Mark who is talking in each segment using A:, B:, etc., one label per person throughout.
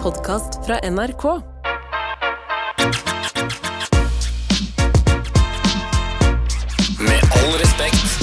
A: podkast fra NRK.
B: Med all respekt.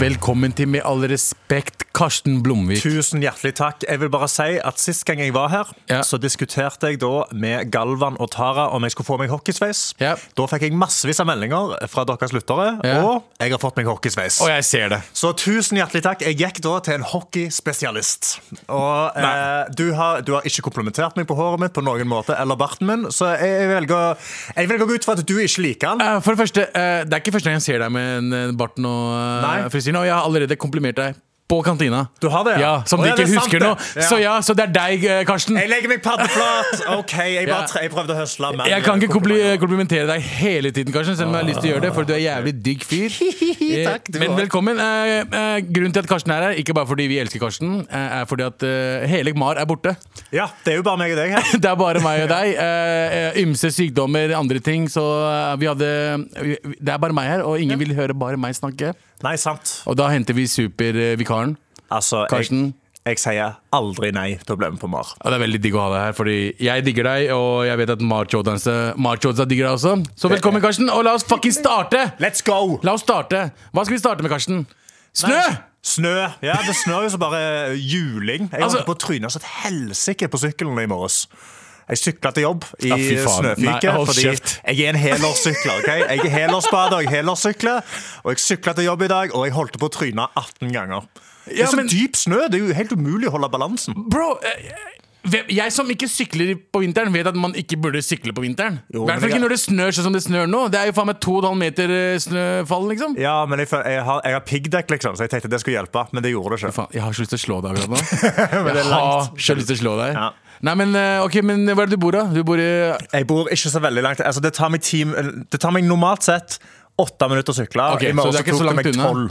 C: Velkommen til Med all respekt, Karsten Blomvik.
D: Tusen hjertelig takk. Jeg vil bare si at Sist gang jeg var her,
C: Ja.
D: så diskuterte jeg da med Galvan og Tara om jeg skulle få meg hockeysveis.
C: Ja.
D: Da fikk jeg massevis av meldinger fra deres lyttere,
C: Ja.
D: og jeg har fått meg hockeysveis.
C: Og jeg ser det.
D: Så tusen hjertelig takk. Jeg gikk da til en hockeyspesialist. Og eh, du, har, du har ikke komplimentert meg på håret mitt på noen måte, eller barten min, så jeg, jeg, velger, jeg velger å gå ut fra at du ikke liker den.
C: Eh, For Det første, eh, det er ikke første gang jeg ser deg med en, eh, barten og eh,
D: Nei.
C: frisyren. Og jeg har allerede komplimert deg på kantina.
D: Du har det,
C: ja.
D: ja.
C: Som
D: Å,
C: de
D: ja,
C: ikke
D: det er sant
C: husker nå.
D: det. Ja.
C: Så ja, så det er deg, eh, Karsten.
D: Jeg legger meg paddeflat. OK, jeg,
C: Ja.
D: bare, tre- jeg prøvde å høsle mer.
C: Jeg kan ikke kompli
D: komplimenter.
C: komplimentere deg hele tiden, Karsten, selv om jeg har lyst til å gjøre det, for du er jævlig digg fyr.
D: Takk,
C: Eh,
D: du
C: Men
D: også.
C: velkommen. Eh, eh, Grunnen til at Karsten er her, ikke bare fordi vi elsker Karsten, eh, er fordi at eh, hele Mar er borte.
D: Ja, det er jo bare meg og deg her.
C: Det er bare meg og deg. Eh, eh, ymse sykdommer, andre ting. Så eh, vi hadde vi- vi- Det er bare meg her, og ingen vil høre bare meg snakke.
D: Nei, sant.
C: Og da henter vi supervikaren.
D: Altså,
C: Karsten?
D: Jeg, jeg sier aldri nei til å bli med på Mar.
C: Ja, det er veldig digg å ha deg her, fordi jeg digger deg, og jeg vet at Marchoddansa digger deg også. Så velkommen, Karsten, og la oss fucking starte!
D: Let's go!
C: La oss starte. Hva skal vi starte med, Karsten? Snø!
D: Snø. Ja, det snør jo så bare juling. Jeg
C: Altså-
D: holdt på å tryne som et helsike på sykkelen i morges. Jeg sykla til jobb i
C: Ja, fy faen. Nei,
D: snøfyke.
C: hold
D: fordi
C: kjeft.
D: jeg er en helårssykler. ok? Jeg er helårsbader, jeg helårssykler. Og jeg sykla til jobb i dag, og jeg holdt på å tryne 18 ganger. Det
C: Ja,
D: er så
C: men-
D: dyp snø. Det er jo helt umulig å holde balansen.
C: Bro, eh, hvem- jeg som ikke sykler på vinteren, vet at man ikke burde sykle på vinteren. I
D: Jo,
C: hvert fall
D: men jeg-
C: ikke når det snør sånn som det snør nå. Det er jo faen meg 2,5 meter eh, snøfall, liksom.
D: Ja, men jeg, føl- jeg har, jeg har piggdekk, liksom, så jeg tenkte det skulle hjelpe. Men det gjorde det ikke.
C: Faen, jeg har så lyst til å slå deg akkurat nå.
D: det er
C: jeg har
D: langt.
C: så lyst til å slå deg.
D: Ja.
C: Nei, men eh, ok, men hvor er det du bor, da? Du bor i
D: Jeg bor ikke så veldig langt. Altså, det, tar meg ti, det tar meg normalt sett åtte minutter å sykle.
C: Ok,
D: I morgen
C: så det er ikke så
D: tok
C: langt
D: meg
C: unna.
D: 12.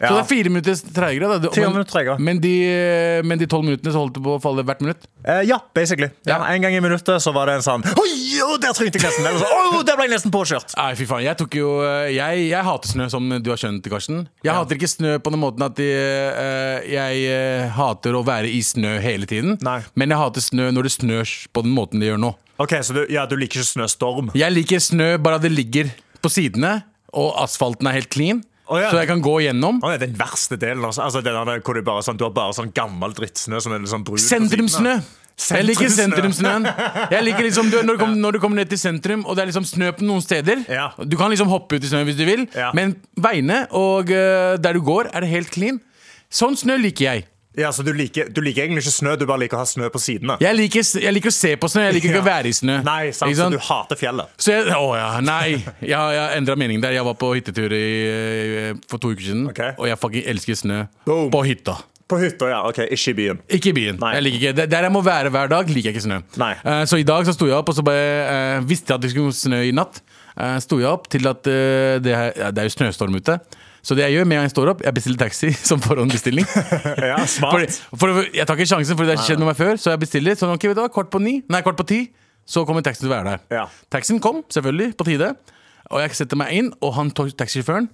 D: Ja.
C: Så det er fire minutter treigere, da. Du-
D: Ti
C: men-
D: minutter treigere.
C: Men de, eh, men de tolv minuttene så holdt du på å falle hvert minutt?
D: Eh, ja, basically. Ja.
C: Ja.
D: En gang i minuttet så var det en sånn Oi, å, der trynte jeg nesten. Eller så, «Å, der ble jeg nesten påkjørt.
C: Nei, fy faen. Jeg tok jo eh, Jeg, jeg hater snø, som du har skjønt, Karsten. Jeg hater ikke snø på den måten at de, eh, jeg eh, hater å være i snø hele tiden.
D: Nei.
C: Men jeg hater snø når det snør på den måten det gjør nå.
D: Ok, Så du, ja, du liker ikke snøstorm?
C: Jeg liker snø bare at det ligger på sidene, og asfalten er helt clean.
D: Å, ja.
C: Så jeg kan gå gjennom.
D: Å, det er den verste delen. Altså, altså den der, hvor du, bare, sånn, du har bare sånn gammel drittsnø som er litt sånn brun. på siden.
C: Sentrumssnø. Jeg liker sentrumssnøen.
D: Sentrumssnø.
C: Jeg liker liksom du, når, du kommer, når du kommer ned til sentrum, og det er liksom snø på noen steder
D: Ja.
C: Du kan liksom hoppe ut i snøen hvis du vil,
D: Ja.
C: men veiene og eh, der du går, er det helt clean. Sånn snø liker jeg.
D: Ja, så du liker, du liker egentlig ikke snø, du bare liker å ha snø på sidene.
C: Jeg liker, s- jeg liker å se på snø, jeg liker ikke å
D: Ja.
C: være i snø.
D: Nei, sant,
C: Ikke
D: så
C: sant?
D: du hater fjellet.
C: Så jeg, å ja, nei Jeg har, jeg har endret mening der Jeg var på hyttetur i, eh, for to uker siden
D: Ok.
C: Og jeg fucking elsker snø
D: Boom.
C: på hytta
D: På hytta, ja. ok, Ikke i byen.
C: Ikke i byen.
D: Nei.
C: Jeg liker ikke. Der- Der jeg må være hver dag, liker jeg ikke snø.
D: Nei.
C: Eh, så i dag så sto jeg opp, og så bare, eh, visste jeg at det skulle snø i natt. Uh, sto jeg opp til at eh, det, her, ja, det er jo snøstorm ute. Så det jeg gjør med en gang jeg står opp, jeg bestiller taxi som forhåndbestilling.
D: Ja,
C: For,
D: smart.
C: for, jeg tar ikke sjansen, for det har skjedd med meg før. Så jeg bestiller sånn, ok, vet du hva, kvart på ni, nei, kvart på ti, så kommer taxien til å være der.
D: Ja.
C: Taxien kom, selvfølgelig, på tide. Og jeg setter meg inn, og han to- taxisjåføren,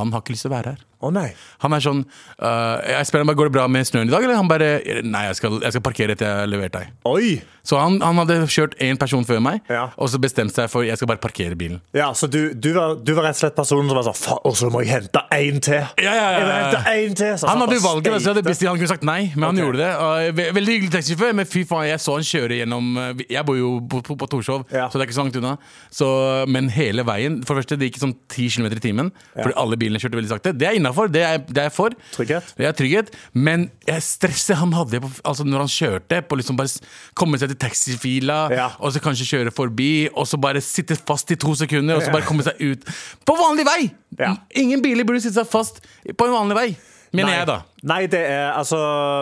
C: han har ikke lyst til å være her.
D: Å nei.
C: Han er sånn øh, Jeg spør ham bare, går det bra med snøen i dag, eller han bare Nei, jeg skal, jeg skal parkere etter jeg har levert deg.
D: Oi!
C: Så han, han hadde kjørt én person før meg,
D: Ja.
C: og så bestemte seg for jeg skal bare parkere bilen.
D: Ja, så du, du, var, du var rett og slett personen som var sånn Faen, og så må jeg hente én til!
C: Ja, ja, ja,
D: Jeg må
C: ja.
D: hente én til! Så
C: Han hadde
D: bare
C: valget, så jeg hadde
D: steikte.
C: bestilt, han kunne sagt nei, men han
D: Ok.
C: gjorde det. Og eh, ve- veldig hyggelig taxisjåfør, men fy faen, jeg så han kjøre gjennom øh, Jeg bor jo på, på, på Torshov,
D: Ja.
C: så det er ikke så langt unna. Så, men hele veien For det første, det gikk sånn 10 km i timen, fordi alle bilene kjørte veldig sakte. Det er innafor, det, er- det er jeg for.
D: Trygghet.
C: Det er trygghet, men jeg stresset han hadde på, altså når han kjørte, på liksom bare s- komme seg til taxifila,
D: Ja.
C: og så kanskje kjøre forbi, og så bare sitte fast i to sekunder, og så bare komme seg ut. På vanlig vei!
D: Ja.
C: Ingen biler burde sitte seg fast på en vanlig vei, mener
D: Nei.
C: jeg da.
D: Nei, det er altså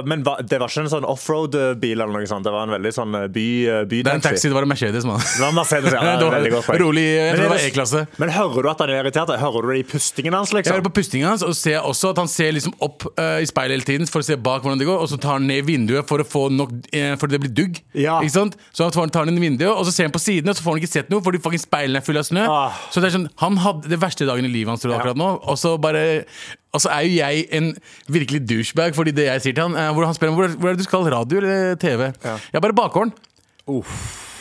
D: Men hva, det var ikke en sånn offroad-bil eller noe sånt. Det var en veldig sånn eh, by, eh, bytaxi.
C: Det er en taxi, det var en Mercedes, mann.
D: Det var Mercedes, ja.
C: Det var
D: veldig godt poeng.
C: rolig, jeg
D: Men
C: tror det
D: er
C: var E-klasse.
D: Men hører du at han er irritert? Hører du det i pustingen hans,
C: Jeg hører
D: liksom?
C: på pustingen hans og ser også at han ser liksom opp eh, i speilet hele tiden for å se bak hvordan det går, og så tar han ned vinduet for å få nok eh, For det blir dugg.
D: Ja.
C: Ikke sant? Så han tar- tar ned vinduet, og så ser han på siden, og så får han ikke sett noe fordi fucking speilene er fulle av snø.
D: Ah.
C: Så det er sånn, han hadde det verste dagen i livet hans tror jeg, akkurat nå, og så bare og så er jo jeg en virkelig douchebag, fordi det jeg sier til han eh, hvor Han spør meg hvor, hvor er det du skal, radio eller TV? Jeg er bare bakgården.
D: Uff,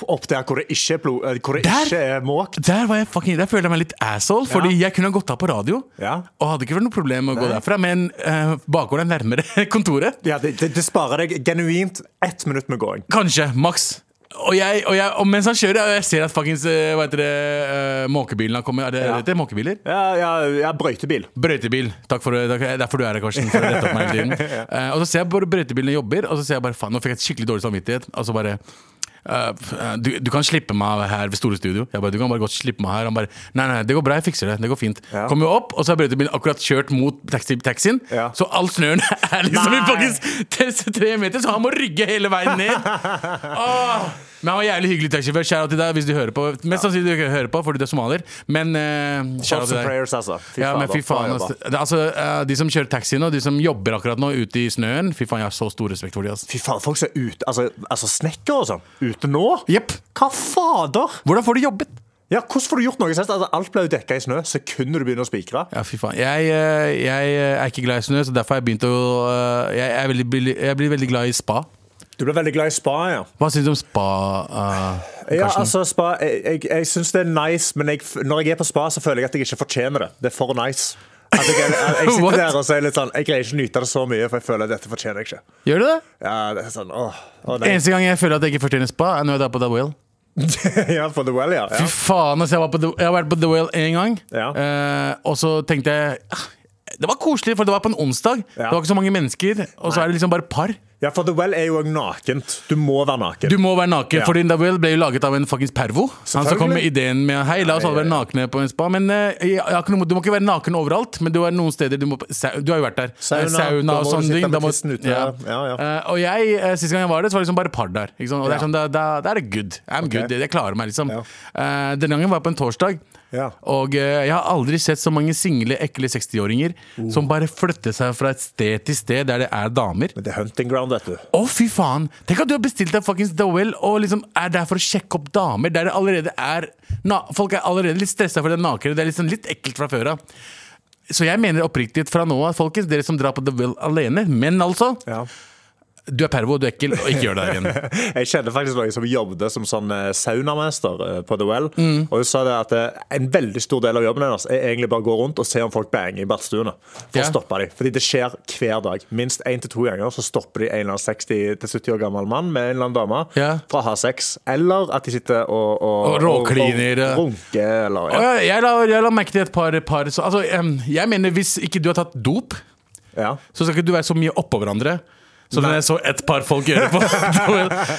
D: opp der hvor det ikke er, blod, eh, hvor det
C: Der?
D: ikke er måk.
C: Der, var jeg fucking, der følte jeg meg litt asshole, fordi jeg kunne ha gått av på radio.
D: Ja.
C: Og hadde ikke vært noe problem med å gå derfra, men eh, bakgården er nærmere kontoret.
D: Ja, det, det, det sparer deg genuint ett minutt med gåing.
C: Kanskje, maks. Og, jeg, og, jeg, og mens han kjører, og jeg ser at fuckings eh, Hva heter det eh, Måkebilen har kommet. Er det,
D: Ja.
C: det heter måkebiler?
D: Ja, ja, ja brøytebil.
C: Brøytebil. Takk for, takk, derfor du er her, Karsten. For å rette opp meg hele tiden. Eh, og så ser jeg bare brøytebilene jobber, og så ser jeg bare faen, nå fikk jeg et skikkelig dårlig samvittighet. Og så bare eh, f- eh, du, du kan slippe meg her ved Store Studio. Jeg bare, du kan bare godt slippe meg her. Han bare Nei, nei, det går bra, jeg fikser det. Det går fint.
D: Ja.
C: Kommer jo opp, og så har brøytebilen akkurat kjørt mot taxi, taxien.
D: Ja.
C: Så all snøen er liksom i
D: Nei.
C: faktisk tre- tre meter, så han må rygge hele veien ned. Åh, men han var jævlig hyggelig taxisjåfør. Shout out til deg hvis du hører på. Mest sannsynlig du ikke hører på fordi du er somalier, men uh, shout out til
D: Thoughts and
C: deg.
D: prayers, altså. Fy
C: Ja, men
D: da.
C: fy faen
D: Bra jobba.
C: ass. Det- Altså, eh, De som kjører taxi nå, de som jobber akkurat nå ute i snøen Fy faen, jeg har så stor respekt for de ass.
D: Fy faen, folk som er ute Altså, altså snekker og sånn. Ute nå?
C: Jepp.
D: Hva fader?
C: Hvordan får de jobbet?
D: Ja, Hvordan får du gjort noe? sist? Altså, alt ble jo dekka i snø sekundet du begynner å spikre.
C: Ja, fy faen Jeg, eh, jeg eh, er ikke glad i snø, så derfor har jeg begynt å eh, jeg, er veldig, billig- jeg blir veldig glad i spa.
D: Du ble veldig glad i spa, ja.
C: Hva syns du om spa, eh,
D: Ja,
C: Karsten?
D: altså, spa Jeg, jeg, jeg syns det er nice, men jeg, f- når jeg er på spa, så føler jeg at jeg ikke fortjener det. Det er for nice. At jeg, jeg, jeg
C: What?
D: sitter der og så er jeg litt sånn Jeg greier ikke å nyte det så mye, for jeg føler at dette fortjener jeg ikke.
C: Gjør du det?
D: Ja, det er sånn, åh, åh nei.
C: Eneste gang jeg føler at jeg ikke fortjener spa, er når jeg drar på The Whale.
D: ja, for the well, ja.
C: Fy
D: ja.
C: faen, ass, jeg, var på The, jeg har vært på The Whale én gang,
D: Ja.
C: eh, og så tenkte jeg ah, Det var koselig, for det var på en onsdag.
D: Ja.
C: Det var ikke så mange mennesker, og så er det liksom bare par.
D: ja, for the well er jo også nakent. Du må være naken.
C: Du må være naken,
D: Ja.
C: fordi The Whale ble jo laget av en fuckings pervo. Han som kom med ideen med Hei, la oss alle være nakne på en spa. Men eh, jeg, jeg har ikke noe, mot- du må ikke være naken overalt, men du er noen steder Du, må, på- sau- du har jo vært der. Eh,
D: Sauna, da
C: sauna og
D: må du
C: sånne
D: sitte
C: ting.
D: med
C: da må-
D: tissen ute.
C: Ja.
D: Ja, ja.
C: Eh, og jeg, uh, sist gang jeg var der, så var det liksom bare par der. Ikke sant? Og det er
D: Ja.
C: sånn, da, da, da er det good. I'm good. Jeg klarer meg, liksom.
D: Ja.
C: Eh, denne gangen var jeg på en torsdag.
D: Ja.
C: Og eh, jeg har aldri sett så mange single, ekle 60-åringer
D: Oh.
C: som bare flytter seg fra et sted til sted der det er damer.
D: Men det er hunting ground, vet du.
C: Å, fy faen! Tenk at du har bestilt deg fuckings The Well og liksom er der for å sjekke opp damer. Der det allerede er na Folk er allerede litt stressa for det nakne. Det er liksom litt ekkelt fra før av. Så jeg mener oppriktig fra nå av, folkens, dere som drar på The Well alene. Men altså,
D: Ja.
C: du er pervo, du er ekkel, og ikke gjør det der igjen.
D: Jeg kjenner faktisk noen som jobbet som sånn eh, saunamester eh, på The Well. Og hun sa det at eh, en veldig stor del av jobben hennes er egentlig bare å gå rundt og se om folk banger i badstuene. For
C: Ja.
D: å stoppe dem. Fordi det skjer hver dag. Minst én til to ganger så stopper de en eller annen 60-70 år gammel mann med en eller annen dame
C: Ja.
D: fra å ha sex. Eller at de sitter og, og,
C: Og råkliner, ja.
D: Og, og runker, eller
C: Og
D: ja.
C: jeg, jeg, la, jeg la merke til et par, par så, altså, em, Jeg mener, hvis ikke du har tatt dop,
D: ja.
C: så skal ikke du være så mye oppå hverandre. Som jeg så et par folk gjøre på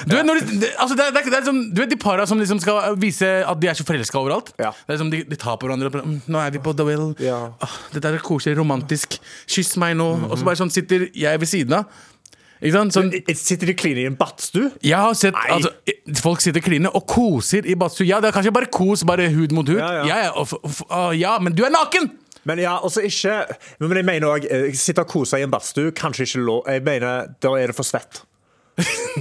C: Du vet, når de, det- altså det er, det er, det er som, du vet de para som liksom skal vise at de er så forelska overalt?
D: Ja.
C: Det er som de, de tar på hverandre og bare, mm, 'Nå er vi på The Well.
D: Ja. Mhm.
C: Åh, dette er koselig, romantisk. Kyss meg nå.' Og så bare sånn sitter jeg ved siden av. Ikke sant? Sånn,
D: Sitter de og kliner i en badstue?
C: jeg har sett
D: Nei.
C: altså, i- folk sitter kline og koser i badstue. Ja, det er kanskje bare kos, bare hud mot hud.
D: Ja, ja.
C: Ja, ja, og f- f- å, ja men du er naken!
D: Men ja, også ikke Men jeg mener òg Sitte og kose i en badstue, kanskje ikke lov Jeg mener, da er det for svett.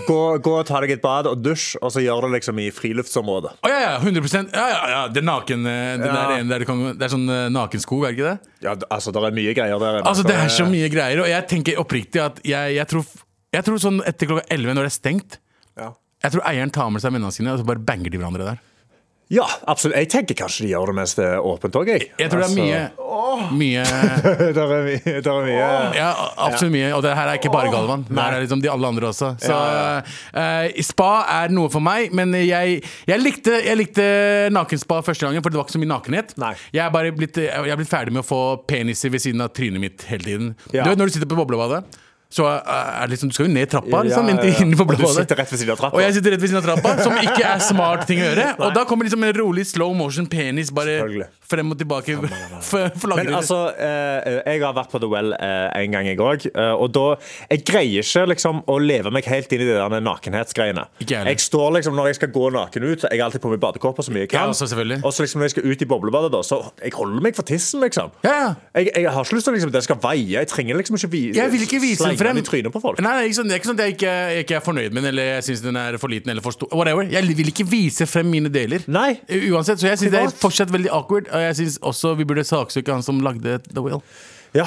D: Gå, gå og ta deg et bad og dusj, og så gjør det liksom i friluftsområdet.
C: Å ja, ja, 100 Ja, ja, ja, det naken eh, Det,
D: Ja.
C: der ene der du kan, det er sånn eh, nakenskog, er det ikke det?
D: Ja, d- altså, det er mye greier der. inne.
C: Altså, det er så
D: eh,
C: mye greier, og jeg tenker oppriktig at jeg, jeg, tror, jeg tror sånn etter klokka 11 når det er stengt,
D: ja.
C: jeg tror eieren tar med seg vennene sine, og så bare banger de hverandre der.
D: ja, absolutt. Jeg tenker kanskje de gjør det mens det er åpent òg, jeg.
C: Jeg tror det er mye Mye
D: Altså, det er mye, der er mye.
C: Ja, absolutt mye. Og det her er ikke bare Galvan. Det her er liksom de alle andre også. Så eh, spa er noe for meg, men jeg, jeg, likte, jeg likte nakenspa første gangen, for det var ikke så mye nakenhet.
D: Nei.
C: Jeg er bare blitt, jeg er blitt ferdig med å få peniser ved siden av trynet mitt hele tiden.
D: Ja.
C: Du vet når du sitter på boblebadet, så eh, er det liksom, du skal jo ned trappa, liksom,
D: Ja, ja, ja.
C: inn- inn på
D: Og du
C: boblebadet.
D: sitter rett ved siden av trappa.
C: Og jeg sitter rett ved siden av trappa, som ikke er smart ting å gjøre. Og da kommer liksom en rolig slow motion penis bare
D: Selvfølgelig.
C: frem og tilbake.
D: Men
C: Men
D: altså, eh, jeg har vært på The Well eh, en gang, jeg òg. Eh, og da Jeg greier ikke liksom å leve meg helt inn i de der nakenhetsgreiene.
C: Ikke heller.
D: Jeg står liksom, Når jeg skal gå naken ut, så jeg har alltid på meg badekåper så mye jeg
C: Ja,
D: kan.
C: altså, selvfølgelig.
D: og så liksom når jeg skal ut i boblebadet, da, så jeg holder meg for tissen, liksom.
C: Ja, ja.
D: Jeg, jeg har ikke lyst til at liksom, den skal veie. Jeg trenger liksom ikke vi
C: Jeg vil ikke vise den
D: slenge
C: frem.
D: i trynet på folk.
C: Nei, nei, ikke sånn, det er ikke sånn at jeg ikke, jeg ikke er fornøyd med den, eller jeg syns den er for liten eller for stor. Whatever. Jeg vil ikke vise frem mine deler.
D: Nei.
C: U- Uansett, Så jeg syns det er
D: Privat.
C: fortsatt veldig awkward, og jeg syns også vi burde saksøke han som lagde The Whale.
D: Ja,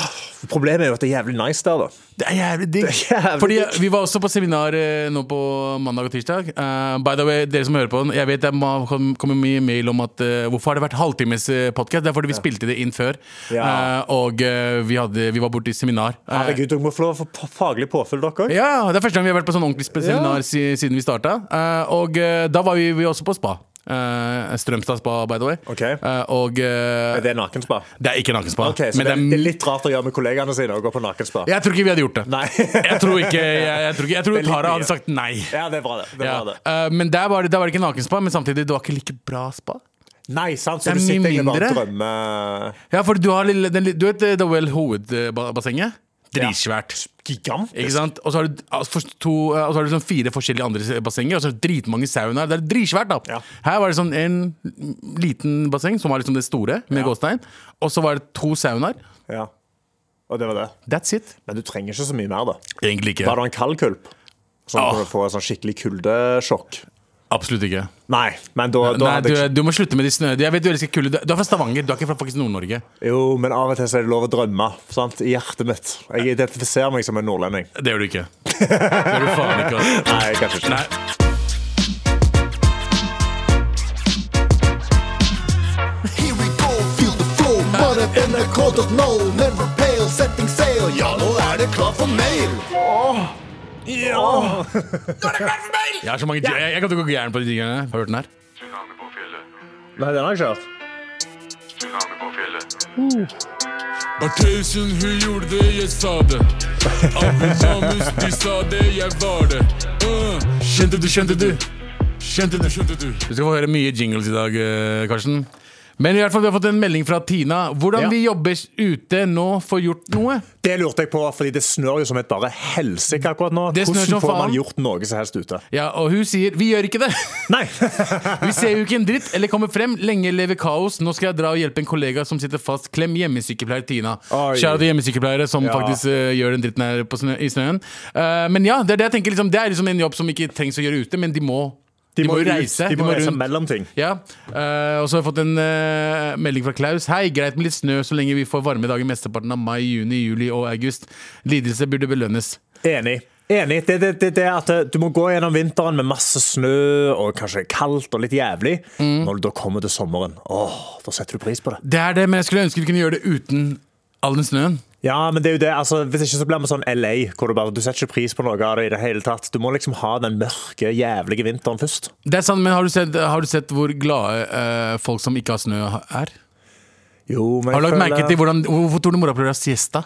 D: Problemet er jo at det er jævlig nice der, da.
C: Det er jævlig digg.
D: Det er jævlig
C: Fordi
D: digg.
C: Vi var også på seminar eh, nå på mandag og tirsdag. Eh, by the way, dere som hører på den, jeg vet det ma- kom- kommer mye mail om at eh, hvorfor har det vært halvtimes podkast? Det er fordi vi spilte det inn før.
D: Ja.
C: Eh, og eh, vi, hadde, vi var borte i seminar. Eh,
D: Herregud, dere må få lov å få p- faglig påfyll, dere òg.
C: ja, ja, Det er første gang vi har vært på sånn ordentlig spe-
D: Ja.
C: seminar si, siden vi starta. Eh, og eh, da var vi, vi også på spa. Eh, Strømstad spa, by the way.
D: Ok.
C: Eh, og eh,
D: Det er nakenspa.
C: det er ikke nakenspa.
D: Ok, så
C: men
D: det er, det
C: det
D: er
C: er,
D: litt rart å gjøre med kollegaene sine å gå på nakenspa.
C: jeg tror ikke vi hadde gjort det.
D: Nei.
C: jeg tror ikke, jeg, jeg tror, ikke, jeg tror
D: Det er litt
C: Tara
D: mye.
C: hadde sagt nei.
D: Ja, det er bra, det. det, er
C: Ja.
D: bra det.
C: Eh, men der var, det, der var det ikke nakenspa, men samtidig det var ikke like bra spa.
D: Nei, sant, så
C: Det er
D: du
C: mye
D: sitter egentlig bare og
C: mindre.
D: drømmer
C: Ja, for du har lille, den, li- du vet eh, The Well Hovedbassenget? Dritsvært.
D: Gigant.
C: Ikke sant? Og så har du, altså, for- to, eh, og så har du sånn fire forskjellige andre s- bassenger, og så er det dritmange saunaer. Det er dritsvært, da.
D: Ja.
C: Her var det sånn en liten basseng, som var liksom det store, med gåstein. Og så var det to saunaer.
D: Ja. Og det var det.
C: That's it.
D: Men du trenger ikke så mye mer, da.
C: Egentlig ikke.
D: Bare du har en kald kulp, så
C: Åh.
D: kan du få en sånn skikkelig kuldesjokk.
C: Absolutt ikke.
D: Nei, men da, da
C: Nei, du,
D: hadde jeg-
C: du må slutte med de snø... Jeg vet du elsker kulde. Du du er fra Stavanger, du er ikke fra faktisk Nord-Norge.
D: Jo, men av og til så er det lov å drømme. Sant? I hjertet mitt. Jeg identifiserer meg som en nordlending.
C: Det gjør du ikke. Det gjør du faen ikke. ass.
D: Nei, kanskje ikke.
C: Nei.
B: Here we go, feel the flow. Bare nrk.no, never pale, setting sail. Ja, nå er det klart for mail.
C: Jeg har så mange jeg, jeg kan ikke gå gæren på de tingene. Har du hørt den her?
E: Tsunami på fjellet.
D: Nei, den har jeg ikke hørt.
E: Tsunami på fjellet.
F: Og tusen hun gjorde det, jeg sa det. Abudamus, de sa det, jeg var det. Uh.
C: Skjønte du, skjønte du?
F: Kjente du, kjente du?
C: Du skal få høre mye jingles i dag, eh, Karsten. Men i hvert fall, vi har fått en melding fra Tina. Hvordan
D: Ja.
C: vi jobber ute nå for gjort noe.
D: Det lurte jeg på, fordi det snør jo som et bare helsike akkurat nå.
C: Det snør
D: Hvordan
C: som
D: får man
C: faen.
D: gjort noe som helst ute?
C: Ja, Og hun sier 'vi gjør ikke det'.
D: Nei!
C: Vi ser jo ikke en dritt eller kommer frem. Lenge lever kaos. Nå skal jeg dra og hjelpe en kollega som sitter fast. Klem hjemmesykepleier Tina.
D: Oi.
C: Kjære til hjemmesykepleiere som
D: Ja.
C: faktisk eh, gjør den dritten her på snø, i snøen. Eh, men ja, det er det jeg tenker. Liksom, det er liksom en jobb som ikke trengs å gjøre ute, men de må. De, må, jo
D: ut.
C: reise.
D: De må, reise
C: rundt.
D: mellom ting.
C: Ja, eh, og så har jeg fått en eh, melding fra Klaus. Hei, greit med litt snø så lenge vi får varme dager mesteparten av mai, juni, juli og august. Lidelse burde belønnes.
D: Enig. Enig. Det, det, det, det er at eh, du må gå gjennom vinteren med masse snø og kanskje kaldt og litt jævlig.
C: Mm.
D: Når du da kommer til sommeren, åh, da setter du pris på det.
C: Det er det, men jeg skulle ønske vi kunne gjøre det uten all den snøen.
D: Ja, men det er jo det. Altså, hvis ikke så blir vi sånn LA, hvor du bare du setter ikke pris på noe av det i det hele tatt. Du må liksom ha den mørke, jævlige vinteren først.
C: Det er sant, men har du sett, har du sett hvor glade eh, folk som ikke har snø, er?
D: Jo, men
C: Har du
D: jeg
C: lagt
D: føler-
C: merke til hvordan, Hvorfor tror du mora prøver å ha siesta?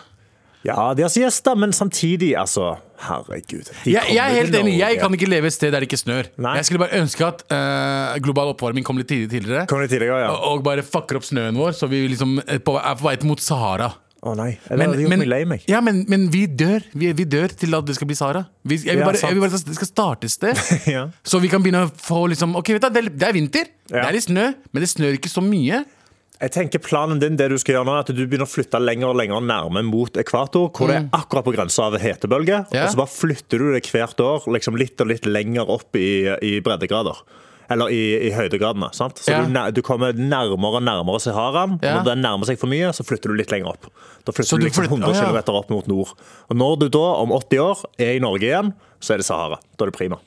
D: Ja, de har siesta, men samtidig, altså Herregud. de
C: Jeg, jeg
D: kommer
C: er helt
D: til
C: enig, jeg
D: Norge.
C: kan ikke leve et sted der det ikke snør.
D: Nei.
C: Jeg skulle bare ønske at eh, global oppvarming kom litt tidlig- tidligere.
D: Kom litt tidligere, ja.
C: og- Og bare fucker opp snøen vår, så vi liksom er på, er på vei mot Sahara.
D: Å nei. Eller, men, gjort meg lei meg.
C: Ja, men, men vi dør. Vi, vi dør til at det skal bli Sahara. Vi, jeg, vil
D: Ja,
C: bare,
D: sant.
C: jeg vil bare at det skal starte et sted.
D: Ja.
C: Så vi kan begynne å få liksom Ok, vet du, det er, det er vinter. Det
D: Ja.
C: er litt snø, men det snør ikke så mye.
D: Jeg tenker Planen din det du skal gjøre nå, er at du begynner å flytte lenger og lenger nærme mot ekvator, hvor det er akkurat på grensa av hetebølge.
C: Mm. Ja.
D: Og så bare flytter du det hvert år liksom litt og litt lenger opp i, i breddegrader. Eller i, i høydegradene. sant? Så
C: Ja.
D: du, nær- du kommer nærmere og nærmere Saharaen. og
C: Ja.
D: Når den nærmer seg for mye, så flytter du litt lenger opp. Da flytter
C: Så
D: du
C: du
D: liksom
C: flytter-
D: 100
C: Å, ja.
D: km opp mot nord. Og når du da, om 80 år, er i Norge igjen, så er det Sahara. Da er det prima.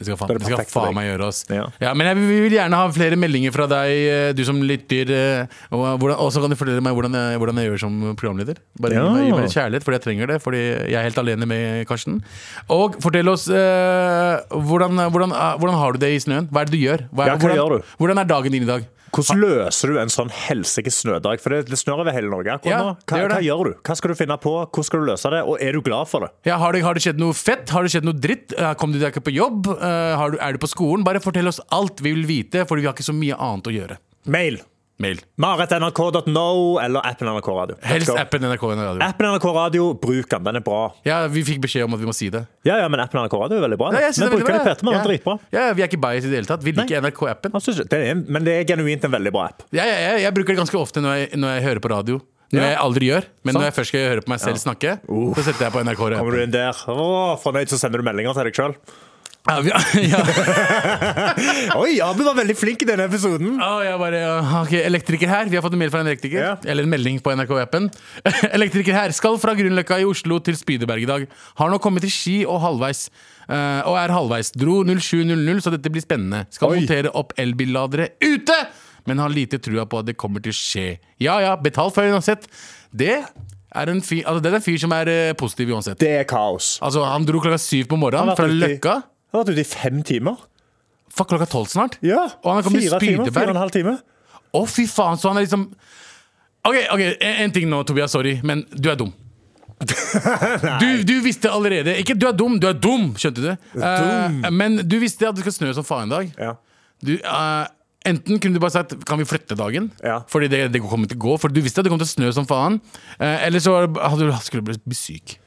C: Det skal
D: Da
C: faen,
D: er det
C: det skal
D: perfekt for
C: faen
D: deg.
C: meg gjøre oss. Ja.
D: Ja.
C: men jeg, vi vil gjerne ha flere meldinger fra deg, eh, du som lytter. eh, Og hvordan- og så kan du fortelle meg hvordan jeg, hvordan jeg gjør som programleder. Bare
D: Ja.
C: gi, meg, gi meg litt kjærlighet, fordi jeg trenger det. Fordi jeg er helt alene med Karsten. Og fortell oss eh, hvordan, hvordan, eh, hvordan har du det i snøen? Hva er det du gjør? Hva,
D: Ja, hva
C: hvordan,
D: gjør du?
C: hvordan er dagen din i dag?
D: Hvordan løser du en sånn helsike snødag? For det, det snør over hele Norge akkurat
C: Ja,
D: nå.
C: det
D: Hva,
C: gjør det.
D: hva gjør du? Hva skal du finne på? Hvordan skal du løse det? Og er du glad for det?
C: Ja, har, det, har det skjedd noe fett? Har det skjedd noe dritt? Eh, Kom du deg ikke på jobb? Eh, Har du, er du på skolen? Bare fortell oss alt vi vil vite, Fordi vi har ikke så mye annet å gjøre.
D: Mail!
C: Mail.
D: Marit.nrk.no eller appen NRK Radio. Let's
C: Helst
D: go.
C: appen NRK Radio.
D: Appen NRK Radio, bruk den. Den er bra.
C: Ja, vi fikk beskjed om at vi må si det.
D: Ja, ja, men appen NRK Radio er veldig bra.
C: Ja, jeg synes
D: men
C: det er
D: bruker
C: veldig bra.
D: den fete, men den er dritbra.
C: Ja, ja, vi er ikke bias i det hele tatt. Vi liker NRK-appen.
D: Han synes ikke- det er, men det er genuint en veldig bra app.
C: Ja, ja, ja, jeg bruker det ganske ofte når jeg, når jeg hører på radio. Når jeg aldri gjør, men når jeg først skal
D: Uh.
C: høre på meg selv snakke, så setter jeg på NRK.
D: Kommer du inn der, Åh, fornøyd, så sender du meldinger til deg sjøl.
C: Ja, vi- ja. Ah.
D: Oi, Abu var veldig flink i denne episoden.
C: Å, Ah, jeg bare, ja, ok, elektriker her. Vi har fått en mail fra en elektriker.
D: Ja.
C: Eller en melding på NRK-appen. elektriker her skal fra Grünerløkka i Oslo til Spydeberg i dag. Har nå kommet til Ski og halvveis. eh, og er halvveis. Dro 07.00, så dette blir spennende. Skal montere opp elbilladere ute! Men har lite trua på at det kommer til å skje. Ja ja, betal for det uansett. Det er en fyr, altså, det er en fyr som er eh, positiv uansett.
D: Det er kaos.
C: Altså, han dro klokka syv på morgenen
D: Han har
C: fra
D: vært ute i-
C: Løkka.
D: Han har vært ute i fem timer.
C: Fuck, klokka tolv snart.
D: Ja,
C: Og han har kommet til
D: Fire timer, fire og
C: Spydeberg.
D: en halv time.
C: Å, fy faen, så han er liksom Ok, ok, en en ting nå, Tobias. Sorry, men du er dum. du, du visste allerede Ikke du er dum, du er dum! Skjønte du? Eh, men du visste at det skal snø som faen i dag.
D: Ja.
C: Du, eh, enten kunne du bare sagt Kan vi flytte dagen?
D: Ja.
C: Fordi det, det kommer til å gå. For du visste at det kom til å snø som faen. Eh, eller så hadde du, skulle du bli syk.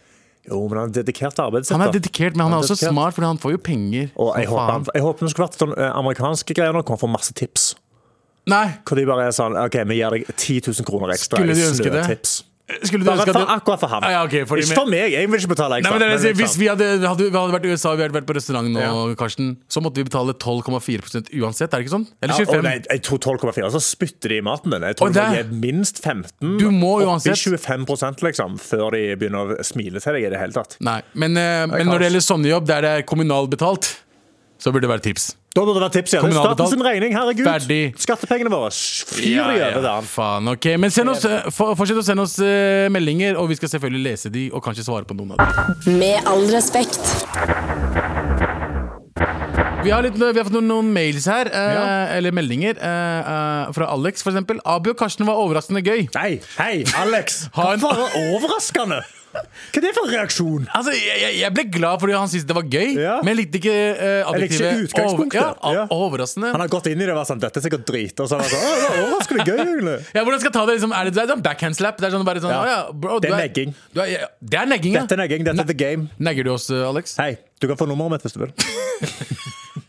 D: Jo, men han er dedikert til arbeidet sitt.
C: Han er
D: da.
C: dedikert, men han
D: Han er
C: er også
D: dedikert.
C: smart, for han får jo penger.
D: Og
C: som
D: jeg håper,
C: faen.
D: han, jeg håper det skulle vært sånn eh, amerikanske greier nå, hvor han får masse tips.
C: Nei!
D: Hvor de bare er sånn OK, vi gir deg 10 000 kroner ekstra.
C: Skulle
D: i
C: de ønske det?
D: snøtips.
C: Skulle du
D: Bare
C: ønske at
D: for,
C: du-
D: akkurat for ham.
C: Ah, ja, ok, fordi
D: ikke
C: med-
D: for meg, jeg vil ikke betale
C: Nei,
D: ekstra.
C: men det er, det jeg sier. hvis
D: liksom-
C: vi hadde, hadde, vi hadde vært i USA og vi hadde vært på restaurant nå,
D: Ja.
C: Karsten, så måtte vi betale 12,4 uansett, er det ikke sånn? Eller
D: Ja,
C: 25?
D: og nei, jeg tror 12,4, så spytter de i maten din. Jeg tror
C: Og
D: de må
C: det-
D: gi minst 15.
C: Du må
D: oppi
C: uansett.
D: 25 liksom, før de begynner å smile til deg i det hele tatt.
C: Nei, men, eh, men
D: kaos.
C: når det gjelder sånne jobb der det er kommunalbetalt, så burde det være tips.
D: Da burde det være tips igjen. Det er
C: Kommunalbetalt.
D: Statens regning, herregud.
C: Ferdig.
D: Skattepengene våre. Fyr de over det. han.
C: faen, ok. Men send oss, eh, for, fortsett å sende oss eh, meldinger, og vi skal selvfølgelig lese de, og kanskje svare på noen av dem.
A: Med all respekt.
C: Vi har, litt, vi har fått noen, noen mails her, eh,
D: Ja.
C: eller meldinger, eh, eh, fra Alex for eksempel. Abi og Karsten var overraskende gøy.
D: Nei, hei, Alex.
C: Ha en-
D: Hva faen er overraskende? Hva er det for en reaksjon?
C: Altså, jeg, jeg- jeg ble glad fordi han syntes det var gøy,
D: Ja.
C: men jeg likte ikke uh,
D: Jeg likte
C: adjektivet
D: ikke utgangspunktet.
C: over- ja,
D: Ja.
C: a- overraskende.
D: Han har gått inn i det og vært sånn Dette er sikkert drit. Og så har han sånn, «Å, det var overraskende gøy, egentlig.
C: Ja, hvordan skal jeg ta det? Liksom, er det, det er sånn backhand slap? Det er sånn, bare sånn,
D: Ja.
C: «Å ja. bro,
D: Det er
C: du
D: negging.
C: Du er, ja, det er negging, ja.
D: Dette er negging. Dette er the game.
C: Negger du oss, eh, Alex?
D: Hei, du kan få nummeret mitt hvis du vil.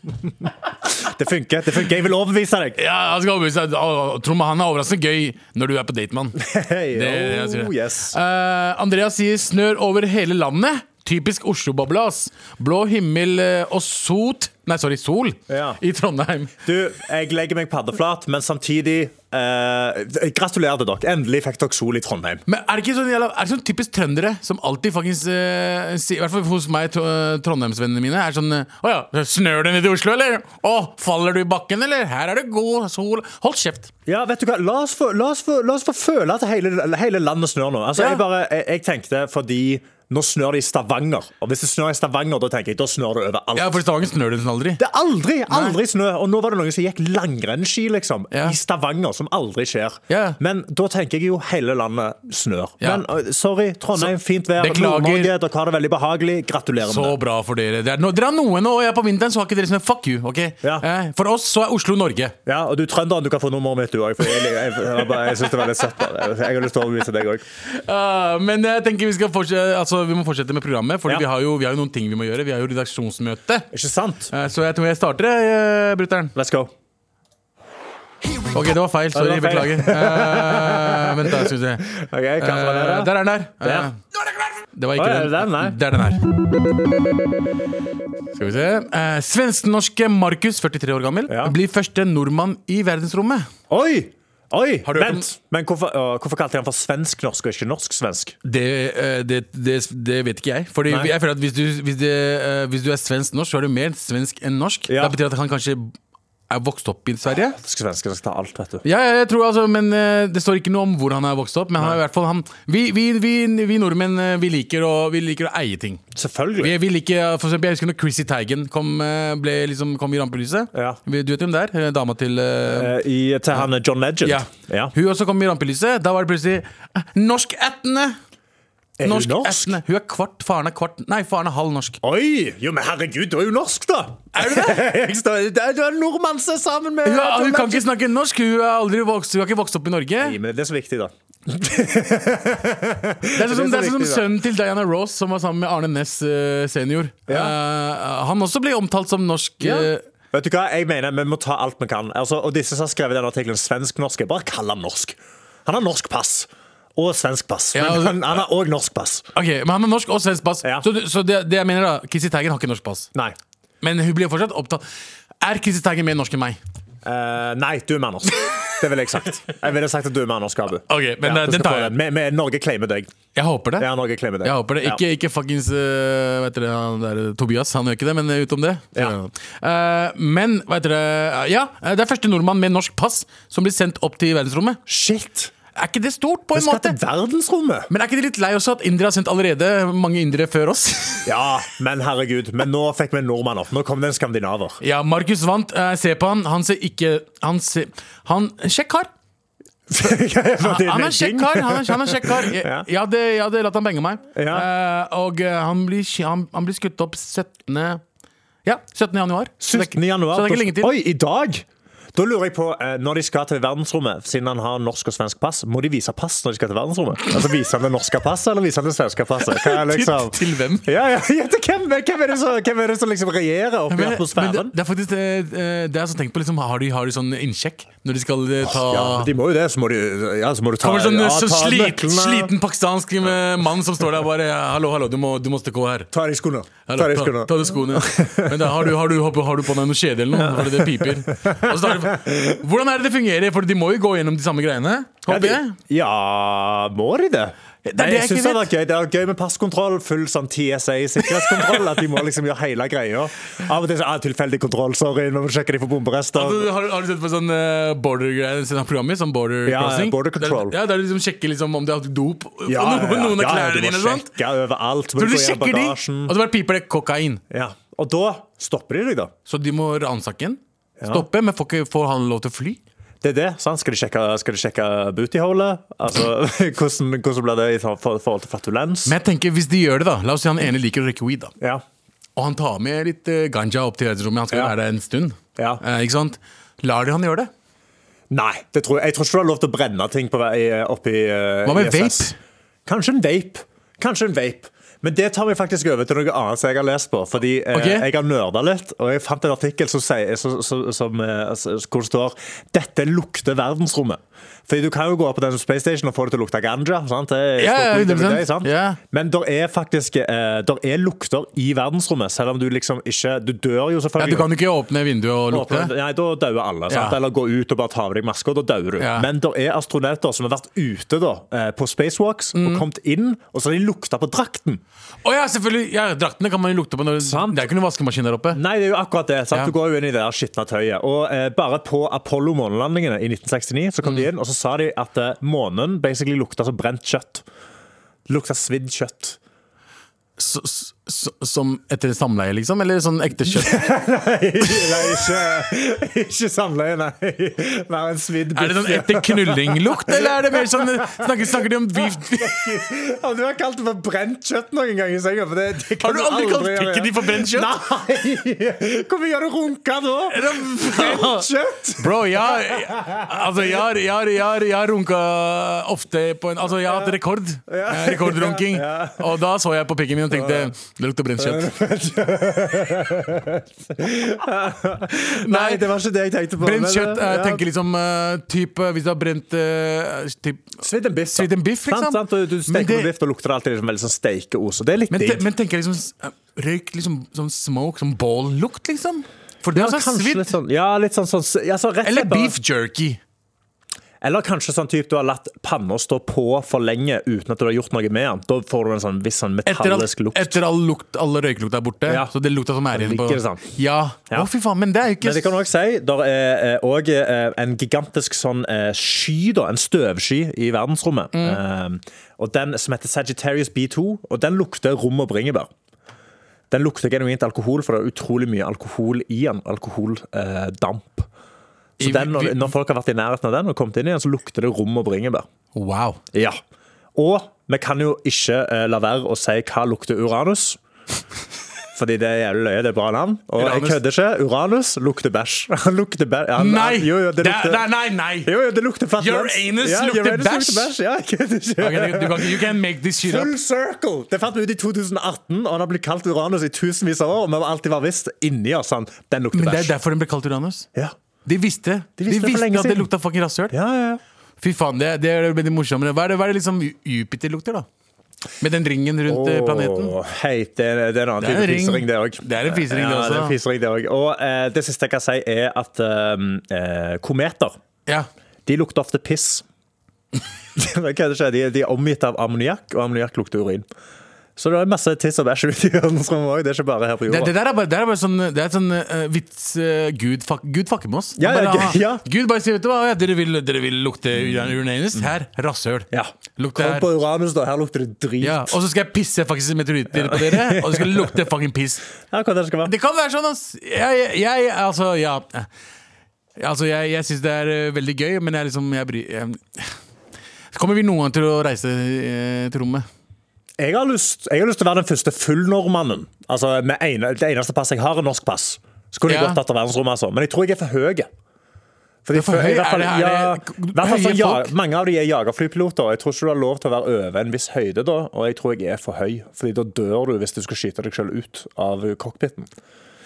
D: Det funker. det funker Jeg vil overbevise deg.
C: Ja, han skal overbevise deg. Å, Trond, han er overraskende gøy når du er på date, mann.
D: Hei,
C: Det er det jeg sier.
D: oh, yes.
C: Eh, Andreas sier snør over hele landet. Typisk Oslo-bobla, ass. Blå himmel eh, og sot Nei, sorry, sol
D: Ja.
C: i Trondheim.
D: Du, jeg legger meg paddeflat, men samtidig eh, Gratulerer til dere. Endelig fikk dere sol i Trondheim.
C: Men er det ikke sånn, jævla, er det sånn typisk trøndere som alltid faktisk eh, sier, I hvert fall hos meg, tro- eh, trondheimsvennene mine, er sånn eh, Å ja, snør det ned i Oslo, eller? Å, faller du i bakken, eller? Her er det god sol Hold kjeft.
D: Ja, vet du hva? La oss få, la oss få, la oss få føle at hele, hele landet snør nå. Altså,
C: Ja.
D: jeg, bare, jeg, jeg tenkte fordi nå snør det i Stavanger. Og hvis det snør i Stavanger, da tenker jeg, da snør det overalt.
C: Ja, for i Stavanger snør det nesten aldri.
D: Det er aldri aldri snø! Og nå var det noen som gikk langrennsski liksom,
C: Ja.
D: i Stavanger, som aldri skjer.
C: Ja.
D: Men da tenker jeg jo hele landet snør.
C: Ja.
D: Men øh, sorry, Trondheim, fint vær.
C: Beklager.
D: Nord-Norge, dere har det veldig behagelig. Gratulerer
C: Så
D: med det.
C: bra for dere. Det er, no, dere har noe nå, og jeg er på vinteren, så har ikke dere som en fuck you. ok?
D: Ja.
C: Eh, for oss så er Oslo Norge.
D: Ja, og du trønderen, du kan få nummeret mitt, du òg. Jeg, jeg, jeg, jeg, bare- jeg syns det er veldig søtt. bare. Jeg har lyst til å overbevise deg òg.
C: Ah, men jeg tenker vi, skal fortsette, altså, vi må fortsette med programmet, for
D: Ja.
C: vi, har jo- vi har jo noen ting vi må gjøre. Vi har jo redaksjonsmøte.
D: Ikke sant?
C: Eh, så jeg tror jeg starter, uh, brutter'n.
D: Let's go.
C: Ok, det var feil. Sorry,
D: Ja, det var feil.
C: beklager. Eh, vent, da. Skal vi se.
D: Ok, hva var det
C: Eh,
D: da?
C: der er den der.
D: Der.
C: Eh, det var ikke
D: Å, ja,
C: den.
D: den, nei.
C: Det er den her. Skal vi se. Eh, Svensk-norske Markus, 43 år gammel,
D: Ja.
C: blir første nordmann i verdensrommet.
D: Oi! Oi,
C: du hørt
D: vent! Men hvorfor, øh, hvorfor kalte de han for svensk-norsk og ikke norsk-svensk?
C: Det, eh, det, det, det vet ikke jeg. Fordi
D: Nei.
C: jeg føler at hvis du, hvis, det, eh, hvis du er svensk-norsk, så er du mer svensk enn norsk.
D: Ja.
C: Det betyr at han kanskje er vokst opp i Sverige.
D: Svensker skal ta alt, vet du.
C: Ja, ja, jeg tror altså, men eh, Det står ikke noe om hvor han er vokst opp. Men han er i hvert fall han Vi, vi, vi, vi nordmenn eh, vi liker, å, vi liker å eie ting. Vi,
D: Selvfølgelig.
C: vi liker, eh, for eksempel, Jeg husker når Chrissy Teigen kom, eh, ble, liksom, kom i rampelyset.
D: Ja.
C: Vi- Du vet hvem det er? Eh, Dama til eh,
D: Eh, I, til han John Legend.
C: ja. Hun også kom i rampelyset. Da var det plutselig eh, norskættende!
D: Er hun norsk?
C: Norskættende. Hun er kvart, faren er kvart Nei, faren er halv norsk.
D: Oi! Jo, men herregud, du er jo norsk, da!
C: Er du det?
D: Jeg står- det er- Du er nordmann som er sammen med
C: Hun, er-
D: John
C: hun kan
D: Legend.
C: ikke snakke norsk! Hun er aldri vokst, hun har ikke vokst opp i Norge.
D: Nei, men Det er så viktig, da.
C: sånn- Det er sånn som, det er sånn som
D: viktig, da.
C: sønnen til Diana Ross, som var sammen med Arne Næss eh, senior. Eh, han også ble omtalt som norsk. eh,
D: Vet du hva, jeg mener Vi må ta alt vi kan. Altså, og disse som har skrevet den artikkelen svensk-norsk, bare kall han norsk. Han har norsk pass. Og svensk pass. Men
C: Ja, altså-
D: han, han har òg norsk pass.
C: ok, Men han har norsk og svensk pass.
D: Ja.
C: Så, du- så det, det jeg mener da, Chrissy Teigen har ikke norsk pass.
D: Nei.
C: Men hun blir fortsatt opptatt Er Chrissy Teigen mer norsk enn meg?
D: Eh, nei, du er med Anders. Det ville jeg sagt. Jeg ville sagt at du er med Anders Gabu.
C: Ok, men, eh,
D: du
C: den
D: skal
C: tar
D: få
C: jeg.
D: det. Vi- vi- Norge claimer deg.
C: Jeg håper det.
D: Ja, Norge claimer deg.
C: Jeg håper det.
D: Ja.
C: Ikke, ikke fuckings øh, vet dere, han der, Tobias, han gjør ikke det, men utom det. så
D: Ja.
C: gjør han det. Eh, men vet dere Ja, eh, det er første nordmann med norsk pass som blir sendt opp til verdensrommet.
D: Shit!
C: Er ikke det stort, på
D: Vi
C: en
D: skal
C: måte?
D: til verdensrommet!
C: Men er ikke det litt lei også at India har sendt allerede mange indere før oss?
D: Ja, men herregud. Men nå fikk vi en nordmann opp. Nå kom det en skandinaver.
C: ja, Markus vant. Eh, se på han. Han ser ikke Han ser Han Sjekk kar.
D: For det
C: Han er en
D: negging.
C: kjekk kar. Han er, han er en kjekk kar. Jeg,
D: Ja.
C: jeg, hadde, jeg hadde latt han benge meg.
D: Ja.
C: Eh, og eh, han blir, skj- han, han blir skutt opp 17. Ja, 17. januar. Så det er ikke-
D: 17. januar.
C: Så det er ikke lenge til.
D: Oi, i dag! Da lurer jeg på, eh, Når de skal til verdensrommet, siden han har norsk og svensk pass, må de vise pass når de skal til verdensrommet? Altså, Viser han det norske passet, eller viser han det svenske passet? Hva er liksom...
C: til, til hvem?
D: Ja, ja, ja, til hvem, hvem, er det som, hvem er det som liksom regjerer oppi
C: Men, men det,
D: atmosfæren?
C: det er faktisk det, eh, det jeg har sånn tenkt på. Liksom, har, de, har de sånn innsjekk når de skal eh, ta
D: Ja, de må jo det, så må du, ja, så må du ta
C: Kommer det sånn,
D: ja,
C: så
D: ta
C: slit,
D: nøklene.
C: sliten pakistansk eh, mann som står der og bare Hallo, hallo, du må, du må stikke over her.
D: Ta av deg skoene. Ta
C: Hallo,
D: av deg
C: ta,
D: skoene.
C: ta de skoene. Men da, har, du, har, du, har, du, har du på deg noe kjede eller noe? Fordi det piper. Og så tar du- hvordan er det det fungerer? For de må jo gå gjennom de samme greiene.
D: Ja,
C: Håper
D: de,
C: jeg.
D: ja, må de det?
C: Det er det jeg
D: jeg synes
C: ikke
D: det hadde vært gøy. Det er gøy med passkontroll, full sånn TSA-sikkerhetskontroll. At de må liksom gjøre hele greia. Av og til så, ah, tilfeldig kontroll, sorry, vi må sjekke de for bomberester.
C: Altså, har, du- har du sett på sånn eh, border-greier? Sånn programmer, sånn border
D: Ja, ja,
C: crossing?
D: border control.
C: Der, ja, der de liksom sjekker liksom om de har hatt dop på noen, noen av
D: du
C: klærne
D: må
C: dine. eller sånt.
D: sjekke overalt.
C: Så
D: Tror
C: du sjekker de, Altså- og så bare piper det kokain.
D: Ja. Og da stopper de deg, da.
C: Så de må ransake den. Stoppe, men får, ikke, får han lov til å fly?
D: Det er det, sant? Skal de sjekke, skal de sjekke bootyholet? Altså, hvordan, hvordan blir det i for- for- forhold til flatulens?
C: Men jeg tenker, hvis de gjør det, da La oss si han ene liker å røyke weed, da.
D: Ja.
C: Og han tar med litt eh, ganja opp til verdensrommet. Han skal jo
D: Ja.
C: være der en stund.
D: Ja.
C: Eh, ikke sant? Lar de han gjøre det?
D: Nei, det tror jeg, jeg tror ikke du har lov til å brenne ting på vei oppi uh,
C: Hva med vape?
D: Kanskje en vape. Kanskje en vape. Men det tar vi faktisk over til noe annet som jeg har lest på. Fordi eh,
C: Ok.
D: jeg har nerda litt, og jeg fant en artikkel som sier, som, som, som, eh, s- hvor det står Dette lukter verdensrommet. Fordi du kan jo gå opp på den Space Station og få det til å lukte ganja. Sant? Det er
C: Ja,
D: stort
C: ja,
D: lyd over
C: 100%.
D: det, sant?
C: Ja.
D: Men der er faktisk eh, der er lukter i verdensrommet, selv om du liksom ikke Du dør jo
C: Ja,
D: selvfølgelig.
C: du kan jo ikke åpne vinduet og lukte.
D: Åpne- Nei, da dauer alle. Sant?
C: Ja.
D: Eller gå ut og bare ta av deg maska, da dauer du.
C: Ja.
D: Men det er astronauter som har vært ute da, eh, på spacewalks
C: Mm.
D: og kommet inn, og så har de lukta på drakten.
C: Å ja, selvfølgelig! Ja, draktene kan man jo lukte på. Når,
D: Sant.
C: det er ikke noen vaskemaskin der oppe.
D: Nei, det er jo akkurat det. Sant?
C: Ja.
D: Du går jo inn i det der skitne tøyet. Og eh, bare på Apollo-månelandingene i 1969 så
C: Mm.
D: kom de inn, og så sa de at eh, månen basically lukta som brent kjøtt. Lukta svidd kjøtt.
C: S s- s som etter samleie, liksom? Eller sånn ekte kjøtt?
D: Nei, ikke, ikke samleie, nei. Mer enn svidd
C: er det sånn
D: biff.
C: etter knullinglukt, eller er det mer sånn Snakker, snakker de om beef
D: Om du har kalt det for brent kjøtt noen gang i senga for det, det
C: Har
D: kan
C: du aldri kalt
D: gjøre
C: pikken din for brent kjøtt?
D: Nei! Hvorfor gjør du runka da? Brent kjøtt?
C: Bro, jeg har- jeg- altså, jeg har- jeg har- jeg har- jeg har runka ofte på en Altså, jeg har hatt rekord. Eh, Rekordrunking. Og da så jeg på pikken min og tenkte Det lukter brent kjøtt.
D: Nei, det var ikke det jeg tenkte på.
C: Brent
D: men-
C: kjøtt jeg
D: ja.
C: tenker liksom eh, typ, eh, Hvis du har brent eh, typ,
D: Svidd en biff. sant?
C: Svidd en biff, liksom.
D: Sant, sant? og Du
C: Men det-
D: steker på biff, da lukter det alltid liksom veldig sånn stekeos. Og det er litt
C: men, te,
D: digg.
C: men tenker jeg liksom s- eh, Røyk liksom sånn smoke, sånn bållukt, liksom? For det er
D: Ja,
C: sånn
D: kanskje litt
C: svidd.
D: sånn, ja, litt sånn, sånn ja, så rett og
C: Eller
D: slett bare-
C: beef jerky.
D: Eller kanskje sånn typ du har latt panna stå på for lenge uten at du har gjort noe med den. Da får du en sånn viss sånn
C: Etter all,
D: metallisk lukt.
C: etter all lukt, alle røykelukta er borte.
D: Ja.
C: Så det lukta som er inne på
D: ligger det sånn.
C: Ja.
D: Ja.
C: Å, fy faen, men det er jo ikke
D: Men det kan også si, der er òg en gigantisk sånn eh, sky, da, en støvsky, i verdensrommet.
C: Mm.
D: Eh, og den som heter Sagittarius B2, og den lukter rom og bringebær. Den lukter genuint alkohol, for det er utrolig mye alkohol i den. Alkoholdamp.
C: I-
D: så den, når,
C: vi-
D: når folk har vært i nærheten av den, og kommet inn i den, så lukter det rom og bringebær.
C: Wow.
D: Ja. Og vi kan jo ikke eh, la være å si hva lukter Uranus. Fordi det er jævlig løye, det er bra navn. Og
C: Uranus.
D: jeg kødder ikke. Uranus lukter bæsj. Han lukter bæsj. Ja, han-
C: Nei!
D: Jo, jo, det
C: Det er-
D: lukter,
C: nei, nei, nei.
D: Jo, jo, det lukter fattig
C: Your
D: lens.
C: anus lukter
D: your anus
C: bæsj.
D: Ja, jeg kødder ikke.
C: Ok, du, du kan, ikke- you can make this shit up.
D: Full circle! Det fant vi ut i 2018, og han har blitt kalt Uranus i tusenvis av år. Og vi har alltid vært visst inni oss han, den lukter
C: Men det er
D: bæsj.
C: derfor den ble kalt Uranus.
D: Ja.
C: De visste De
D: visste det
C: visste,
D: for lenge
C: at det
D: siden.
C: lukta fucking rasshøl.
D: Ja, ja, ja.
C: Fy faen, det, det er veldig morsommere. Hva er det, hva er det liksom Jupiter lukter, da? Med den ringen rundt eh, planeten.
D: Åh, hei, det, er- det er en annen
C: Det er en
D: type
C: ring.
D: fisering, det òg.
C: Det er en fisering, det
D: ja,
C: også.
D: det er en fisering, det også. Og eh, det siste jeg kan si, er at eh, eh, kometer
C: Ja.
D: de lukter ofte piss. Hva er det som skjer? de, de er omgitt av ammoniakk, og ammoniakk lukter urin. Så det er masse tiss og bæsj ute i verdensrommet òg. Det er ikke bare her på
C: Det,
D: jorda.
C: det der er bare, det er bare sånn, det er sånn eh, vits eh, Gud, fuck, Gud fucker med oss. Han
D: Ja, ja,
C: bare,
D: ja.
C: ah, Gud bare sier vet du hva, ja, dere, vil, dere vil lukte uranus? Her, rasshøl.
D: Ja.
C: Lukt
D: Kom
C: her.
D: på Uranus, da. Her lukter det drit.
C: Ja,
D: Ja,
C: og så skal jeg pisse faktisk meteoritter på dere, og det skal lukte fucking piss.
D: hva det skal være.
C: Det kan være sånn, ass. Jeg, jeg, jeg altså, ja. Altså, jeg, jeg syns det er eh, veldig gøy, men jeg liksom jeg bryr jeg, Kommer vi noen gang til å reise eh, til rommet?
D: Jeg har, lyst, jeg har lyst til å være den første fullnordmannen. Altså, med ene, det eneste passet jeg har, er norsk pass. Så kunne jeg
C: Ja.
D: godt tatt av verdensrommet, altså. Men jeg tror jeg er for høy. Fordi
C: er for
D: fø- i
C: høy?
D: hvert fall-
C: Er det- er
D: ja,
C: det-
D: i hvert fall
C: høye
D: sånn, ja,
C: folk?
D: Mange av de er jagerflypiloter. og Jeg tror ikke du har lov til å være over en viss høyde da, og jeg tror jeg er for høy. Fordi da dør du hvis du skal skyte deg sjøl ut av cockpiten.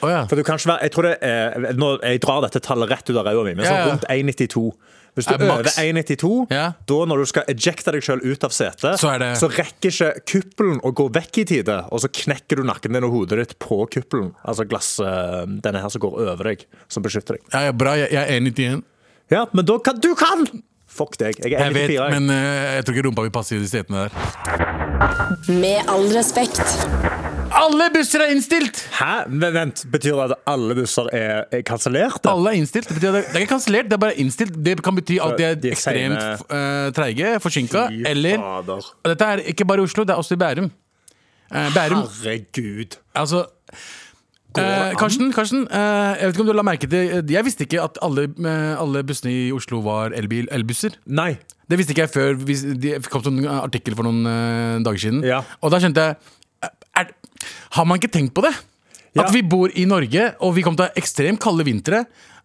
C: Å ja.
D: For du kan ikke være Jeg tror det er nå, Jeg drar dette tallet rett ut av ræva mi, men
C: Ja,
D: sånn
C: ja.
D: rundt 1,92. Hvis du
C: Er maks.
D: øver 1,92,
C: Ja.
D: da når du skal ejecte deg sjøl ut av setet,
C: Så er det-
D: rekker ikke kuppelen å gå vekk i tide, og så knekker du nakken din og hodet ditt på kuppelen. Altså glass, eh, denne her som går over deg, som beskytter deg.
C: ja, ja bra, jeg, jeg er 91.
D: Ja, men da kan Du kan! Fuck deg. Jeg er
C: Jeg
D: 1,94.
C: vet,
D: jeg.
C: men eh, jeg tror ikke rumpa vil passe i de setene der.
A: Med all respekt.
C: Alle busser er innstilt!
D: Hæ? Men vent, betyr det at alle busser er, er kansellerte?
C: Alle er innstilt. Det, betyr, at det det er ikke kansellert, det er bare innstilt. Det kan bety at de er
D: de er
C: ekstremt
D: sene.
C: eh, treige, forsinka,
D: Fy
C: eller
D: fader.
C: Og Dette er ikke bare i Oslo, det er også i Bærum. Eh, Bærum
D: Herregud.
C: Altså eh, Karsten, Karsten eh, jeg vet ikke om du la merke til eh, Jeg visste ikke at alle, eh, alle bussene i Oslo var elbil, elbusser.
D: Nei.
C: Det visste ikke jeg før hvis- det kom sånn eh, artikkel for noen eh, dager siden.
D: Ja.
C: Og da skjønte jeg eh, er, Har man ikke tenkt på det?
D: Ja.
C: At vi bor i Norge, og vi kommer til å ha ekstremt kalde vintre.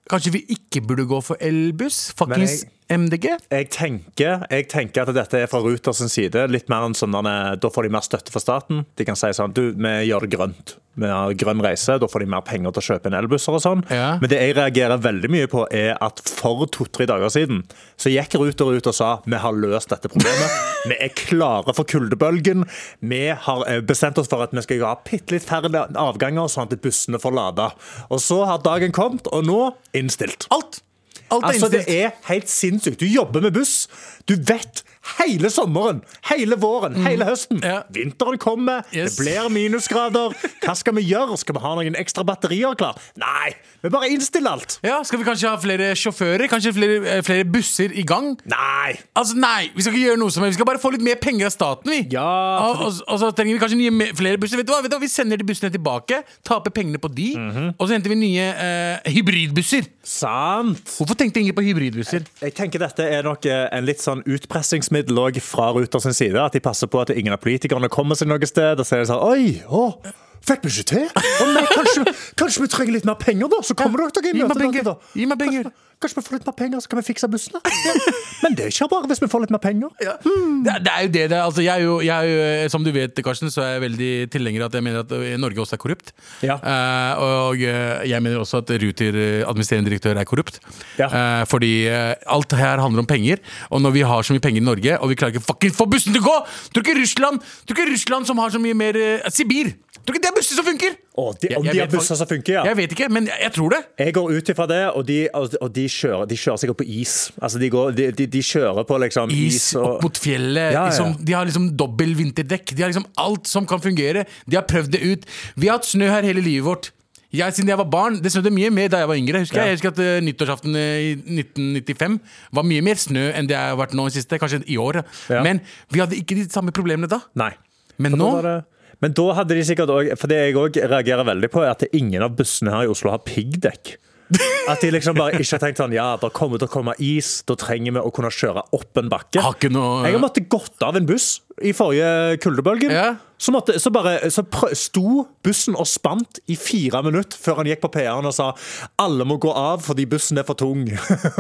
C: Kanskje vi ikke burde gå for elbuss? Fuckings MDG?
D: jeg tenker, jeg tenker at dette er fra Ruter sin side. Litt mer enn sånn, eh, Da får de mer støtte fra staten. De kan si sånn Du, vi gjør det grønt. Vi har grønn reise. Da får de mer penger til å kjøpe inn elbusser og sånn.
C: Ja.
D: Men det jeg reagerer veldig mye på, er at for to-tre dager siden så gikk Ruter ut og sa vi har løst dette problemet. Vi er klare for kuldebølgen. Vi har eh, bestemt oss for at vi skal ha bitte litt færre avganger, sånn at bussene får lade. Og så har dagen kommet, og nå innstilt.
C: Alt! Alt er
D: Altså, det
C: innstilt.
D: er helt sinnssykt. Du jobber med buss. Du vet hele sommeren, hele våren, hele høsten.
C: Ja.
D: Vinteren kommer,
C: Yes.
D: det blir minusgrader. Hva skal vi gjøre? Skal vi ha noen ekstra batterier klar? Nei, vi bare innstiller alt.
C: Ja, Skal vi kanskje ha flere sjåfører? Kanskje flere, eh, flere busser i gang?
D: Nei.
C: Altså, Nei, vi skal ikke gjøre noe som helst. Vi skal bare få litt mer penger av staten, vi.
D: Ja,
C: og, og, og så trenger vi kanskje nye, me- flere busser. Vet du hva? Vet du hva? Vi sender de bussene tilbake, taper pengene på de, og så henter vi nye eh, hybridbusser.
D: Sant.
C: Hvorfor tenkte ingen på hybridbusser?
D: Jeg tenker dette er nok eh, en litt sånn utpressingsmiddel også fra Ruter sin side. At de passer på at ingen av politikerne kommer seg noe sted. Og så er det sånn Oi, å, fikk vi ikke til? Å nei, kanskje, kanskje vi trenger litt mer penger, da? Så kommer dere dere i
C: Gi meg
D: møte.
C: penger.
D: dere da.
C: Gi meg penger.
D: Kanskje, kanskje vi får litt mer penger, så kan vi fikse bussene? Ja. Men det er ikke bare hvis vi får litt mer penger.
C: Det, det er jo det det er. altså, jeg er. Jo, jeg er jo, eh, som du vet, Karsten, så er jeg veldig tilhenger av at jeg mener at eh, Norge også er korrupt.
D: Ja.
C: Eh, og eh, jeg mener også at Ruter, eh, administrerende direktør, er korrupt.
D: Ja.
C: Eh, fordi eh, alt her handler om penger, og når vi har så mye penger i Norge, og vi klarer ikke fucking få bussen til å gå! Tror ikke Russland, tror ikke Russland som har så mye mer eh, Sibir! Tror ikke det er busser som funker!
D: Å, de-
C: Jeg-
D: om
C: jeg
D: de har
C: vet fak-
D: busser som funker, ja.
C: Jeg vet ikke, men jeg, jeg tror det.
D: Jeg går ut ifra det, og de, og de, kjører, de kjører sikkert på is. Altså, de, går, de, de, de kjører på liksom is,
C: Is opp mot fjellet.
D: Ja, ja.
C: Liksom, de har liksom dobbel vinterdekk. De har liksom alt som kan fungere. De har prøvd det ut. Vi har hatt snø her hele livet vårt. Jeg, siden jeg var barn, Det snødde mye mer da jeg var yngre. husker
D: Ja.
C: Jeg Jeg husker at eh, Nyttårsaften eh, i 1995 var mye mer snø enn det har vært nå i siste. Kanskje i år.
D: Ja.
C: Men vi hadde ikke de samme problemene da.
D: Nei.
C: Men nå
D: Da var det- Men da hadde de sikkert òg For det jeg òg reagerer veldig på, er at ingen av bussene her i Oslo har piggdekk. At de liksom bare ikke har tenkt sånn Ja, det kommer til å komme is, da trenger vi å kunne kjøre opp en bakke.
C: Har ikke noe-
D: Jeg har måttet gått av en buss i forrige kuldebølgen.
C: Ja.
D: Så, måtte, så bare så prø sto bussen og spant i fire minutter før han gikk på PR-en og sa alle må gå av fordi bussen er for tung.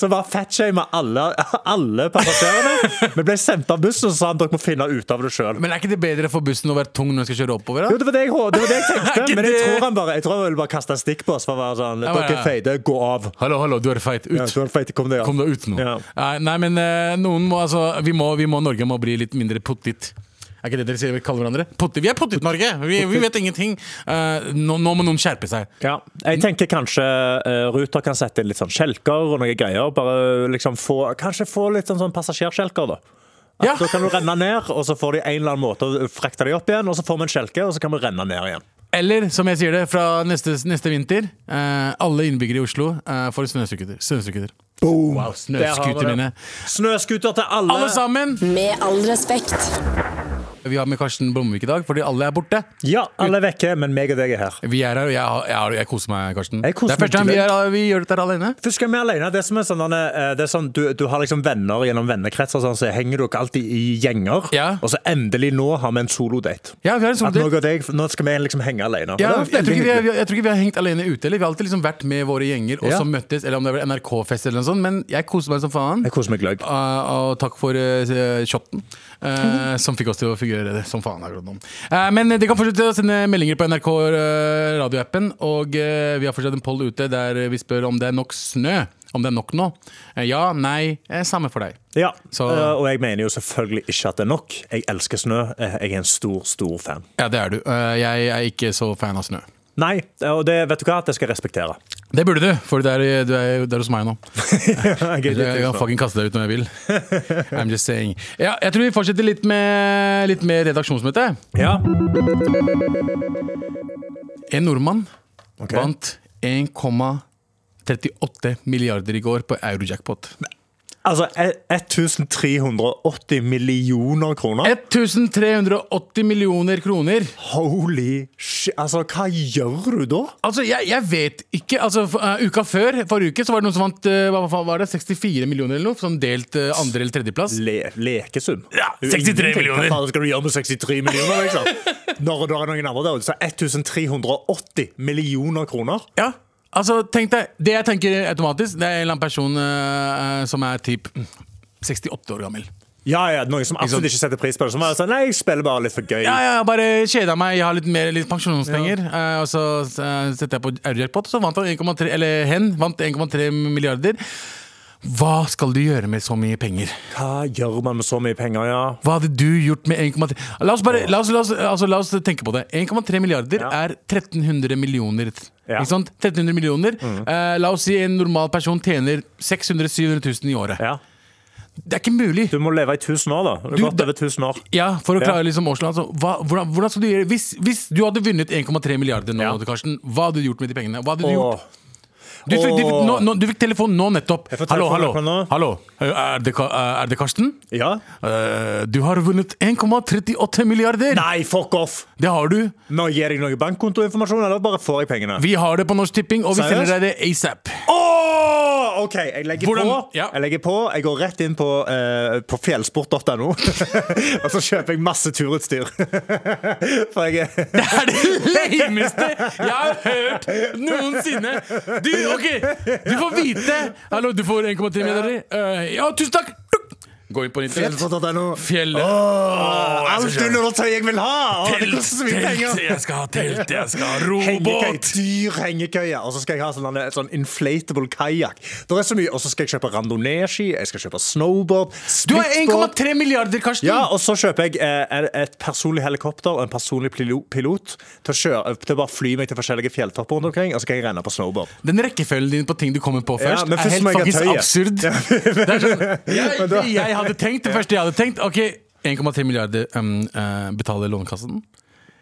D: så bare fatshama alle, alle passasjerene. Vi ble sendt av bussen, og så sa han dere må finne ut av det sjøl.
C: Men er ikke det bedre for bussen å være tung når den skal kjøre oppover?
D: Jo,
C: da?
D: det var det jeg, det var det jeg
C: Er
D: tenkte,
C: ikke
D: men jeg
C: det-
D: tror han bare Jeg tror han ville bare kaste en stikk på oss for å være sånn
C: Ja, men,
D: Dere
C: ja.
D: er feite, gå av.
C: Hallo, hallo, du er feit. Ut.
D: Ja, så er det feite, kom deg av.
C: Kom deg ut nå.
D: Ja.
C: Nei, nei, men eh, noen må altså vi må, vi må Norge må bli litt mindre pottit. Er ikke det dere sier vi kaller hverandre? Potte, vi er Pottit-Norge! Vi, vi vet ingenting. Eh, nå, nå må noen skjerpe seg.
D: Ja. Jeg tenker kanskje eh, Ruter kan sette inn litt sånn skjelker og noen greier. Bare liksom få, kanskje få litt sånn, sånn passasjerskjelker, da. At
C: Ja.
D: Da kan du renne ned, og så får de en eller annen måte å frakte deg opp igjen. Og så får vi en skjelke, og så kan vi renne ned igjen.
C: Eller som jeg sier det, fra neste, neste vinter, eh, alle innbyggere i Oslo eh, får snøscooter. Snøscooter. Boom! Wow, snøscooter mine.
D: Snøscooter til alle!
C: Alle sammen!
A: Med all respekt.
C: Vi har med Karsten Blomvik i dag, fordi alle er borte.
D: Ja, alle er vekke, men meg og deg er her.
C: Vi er her, og jeg, har- jeg, har- jeg koser meg, Karsten.
D: Jeg koser
C: det er første gang
D: meg
C: vi, er, vi gjør dette her alene.
D: Først skal vi alene. Det som er sånn, eh, det er sånn du, du har liksom venner gjennom vennekretser, sånn, så henger dere alltid i gjenger.
C: Ja.
D: Og så endelig nå har vi en solodate.
C: Ja, vi har en sånn
D: At nå, går deg, nå skal vi liksom henge alene.
C: Ja,
D: Og det er
C: jeg, tror ikke
D: veldig
C: vi,
D: hyggelig.
C: har- jeg tror ikke vi har hengt alene ute. Eller. Vi har alltid liksom vært med våre gjenger og
D: Ja.
C: så møttes, eller om det var NRK-fest eller noe sånt. Men jeg koser meg som faen.
D: Jeg koser meg gløgg.
C: Uh, og takk for uh, shotten, uh, som fikk oss til å figurere det som faen. akkurat nå. Uh, men dere kan fortsette å sende meldinger på NRK uh, radioappen. Og uh, vi har fortsatt en poll ute der vi spør om det er nok snø. Om det er nok nå. Uh, ja, nei, eh, samme for deg.
D: Ja,
C: Så-
D: eh, og jeg mener jo selvfølgelig ikke at det er nok. Jeg elsker snø. Eh, Jeg er en stor, stor fan.
C: Ja, det er du. Uh, jeg er ikke så fan av snø.
D: Nei, eh, og det vet du hva, det skal jeg respektere.
C: Det burde du, for det er, du er, du er hos meg nå.
D: Jeg er
C: Jeg,
D: litt
C: jeg kan
D: usikker.
C: fucking kaste deg ut når jeg vil. I'm just saying. Ja, jeg tror vi fortsetter litt med, litt med redaksjonsmøte.
D: Ja,
C: En nordmann
D: ok.
C: vant 1,38 milliarder i går på eurojackpot.
D: Altså, e- 1380 millioner kroner.
C: 1380 millioner kroner!
D: Holy shit. Altså, hva gjør du da?
C: Altså, jeg, jeg vet ikke. Altså, f- eh, uka før, forrige uke, så var det noen som vant eh, hva faen var det, 64 millioner eller noe. Sånn delt eh, andre- eller tredjeplass.
D: Le lekesum.
C: Ja, 63 millioner.
D: Hva faen skal du gjøre med 63 millioner, liksom? Når det er noen andre der ute, så 1380 millioner kroner.
C: Ja, altså tenk deg Det jeg tenker automatisk, det er en eller annen person eh, som er typ 68 år gammel.
D: Ja, ja, noen som absolutt ikke setter pris på det. Som er sånn, nei, jeg spiller bare litt for gøy.
C: Ja, ja, jeg bare kjeda meg, jeg har litt mer litt pensjonspenger. eh, og så eh, setter jeg på Eurojackpot, og så vant han 1,3 Eller hen vant 1,3 milliarder. Hva skal du gjøre med så mye penger?
D: Hva gjør man med så mye penger, ja?
C: Hva hadde du gjort med 1,3 La oss bare, la oss, la oss, altså, la oss tenke på det. 1,3 milliarder
D: Ja.
C: er 1300 millioner.
D: Ja. Mm.
C: Ikke sant? 1300 millioner. Eh, la oss si en normal person tjener 600 000-700 000 i året.
D: ja.
C: Det er ikke mulig.
D: Du må leve i 1000 år, da. Du har
C: Du,
D: gått
C: da-
D: over 1000 år.
C: Ja, for å
D: Ja.
C: klare liksom årslønn. Altså, hva, hvordan, hvordan skal du gjøre hvis, hvis du hadde vunnet 1,3 milliarder nå,
D: Ja.
C: Karsten, hva hadde du gjort med de pengene? Hva hadde du
D: Åh.
C: gjort? Du fikk, du, fikk, nå, nå, du fikk telefon nå nettopp.
D: Jeg får
C: Hallo, hallo.
D: telefon akkurat nå.
C: hallo. Eh, Er, det, Ka- er det Karsten?
D: Ja.
C: Eh, du har vunnet 1,38 milliarder!
D: Nei, fuck off!
C: Det har du.
D: Nå gir jeg deg noe bankkontoinformasjon, eller bare får jeg pengene?
C: Vi har det på Norsk Tipping, og vi
D: Seriøst?
C: sender deg det asap.
D: Åh, OK, jeg legger
C: Hvordan-
D: på.
C: Ja.
D: Jeg legger på, jeg går rett inn på, eh, på fjellsport.no, og så kjøper jeg masse turutstyr. For jeg er
C: Det er det lameste jeg har hørt noensinne. Du, ok, du får vite Hallo, du får 1,3 milliarder. Eh, ja, tusen takk! Gå inn på internett.
D: fjellsport.no.
C: Fjellet.
D: Åh,
C: jeg skal
D: alt
C: kjøre.
D: undertøy jeg vil ha! Åh, det koster så mye penger.
C: jeg skal ha telt, jeg skal ha
D: Hengekøy, dyr hengekøye. Og så skal jeg ha sånn, en sånn inflatable kajakk. Det er så mye. Og så skal jeg kjøpe randonee-ski, jeg skal kjøpe snowboard,
C: Du har
D: splitboard.
C: 1,3 milliarder, Karsten!
D: Ja, og så kjøper jeg eh, et- et personlig helikopter og en personlig pilo- pilot til å, kjøre, til å bare fly meg til forskjellige fjelltopper rundt omkring, og så kan jeg renne på snowboard.
C: Den rekkefølgen din på ting du kommer på
D: Ja,
C: først,
D: men
C: er
D: først
C: helt
D: må jeg ha
C: faktisk
D: tøyet.
C: absurd. Det er sånn, jeg,
D: Men da-
C: det jeg hadde tenkt, det første jeg hadde tenkt Ok, 1,3 milliarder um, eh, betaler Lånekassen.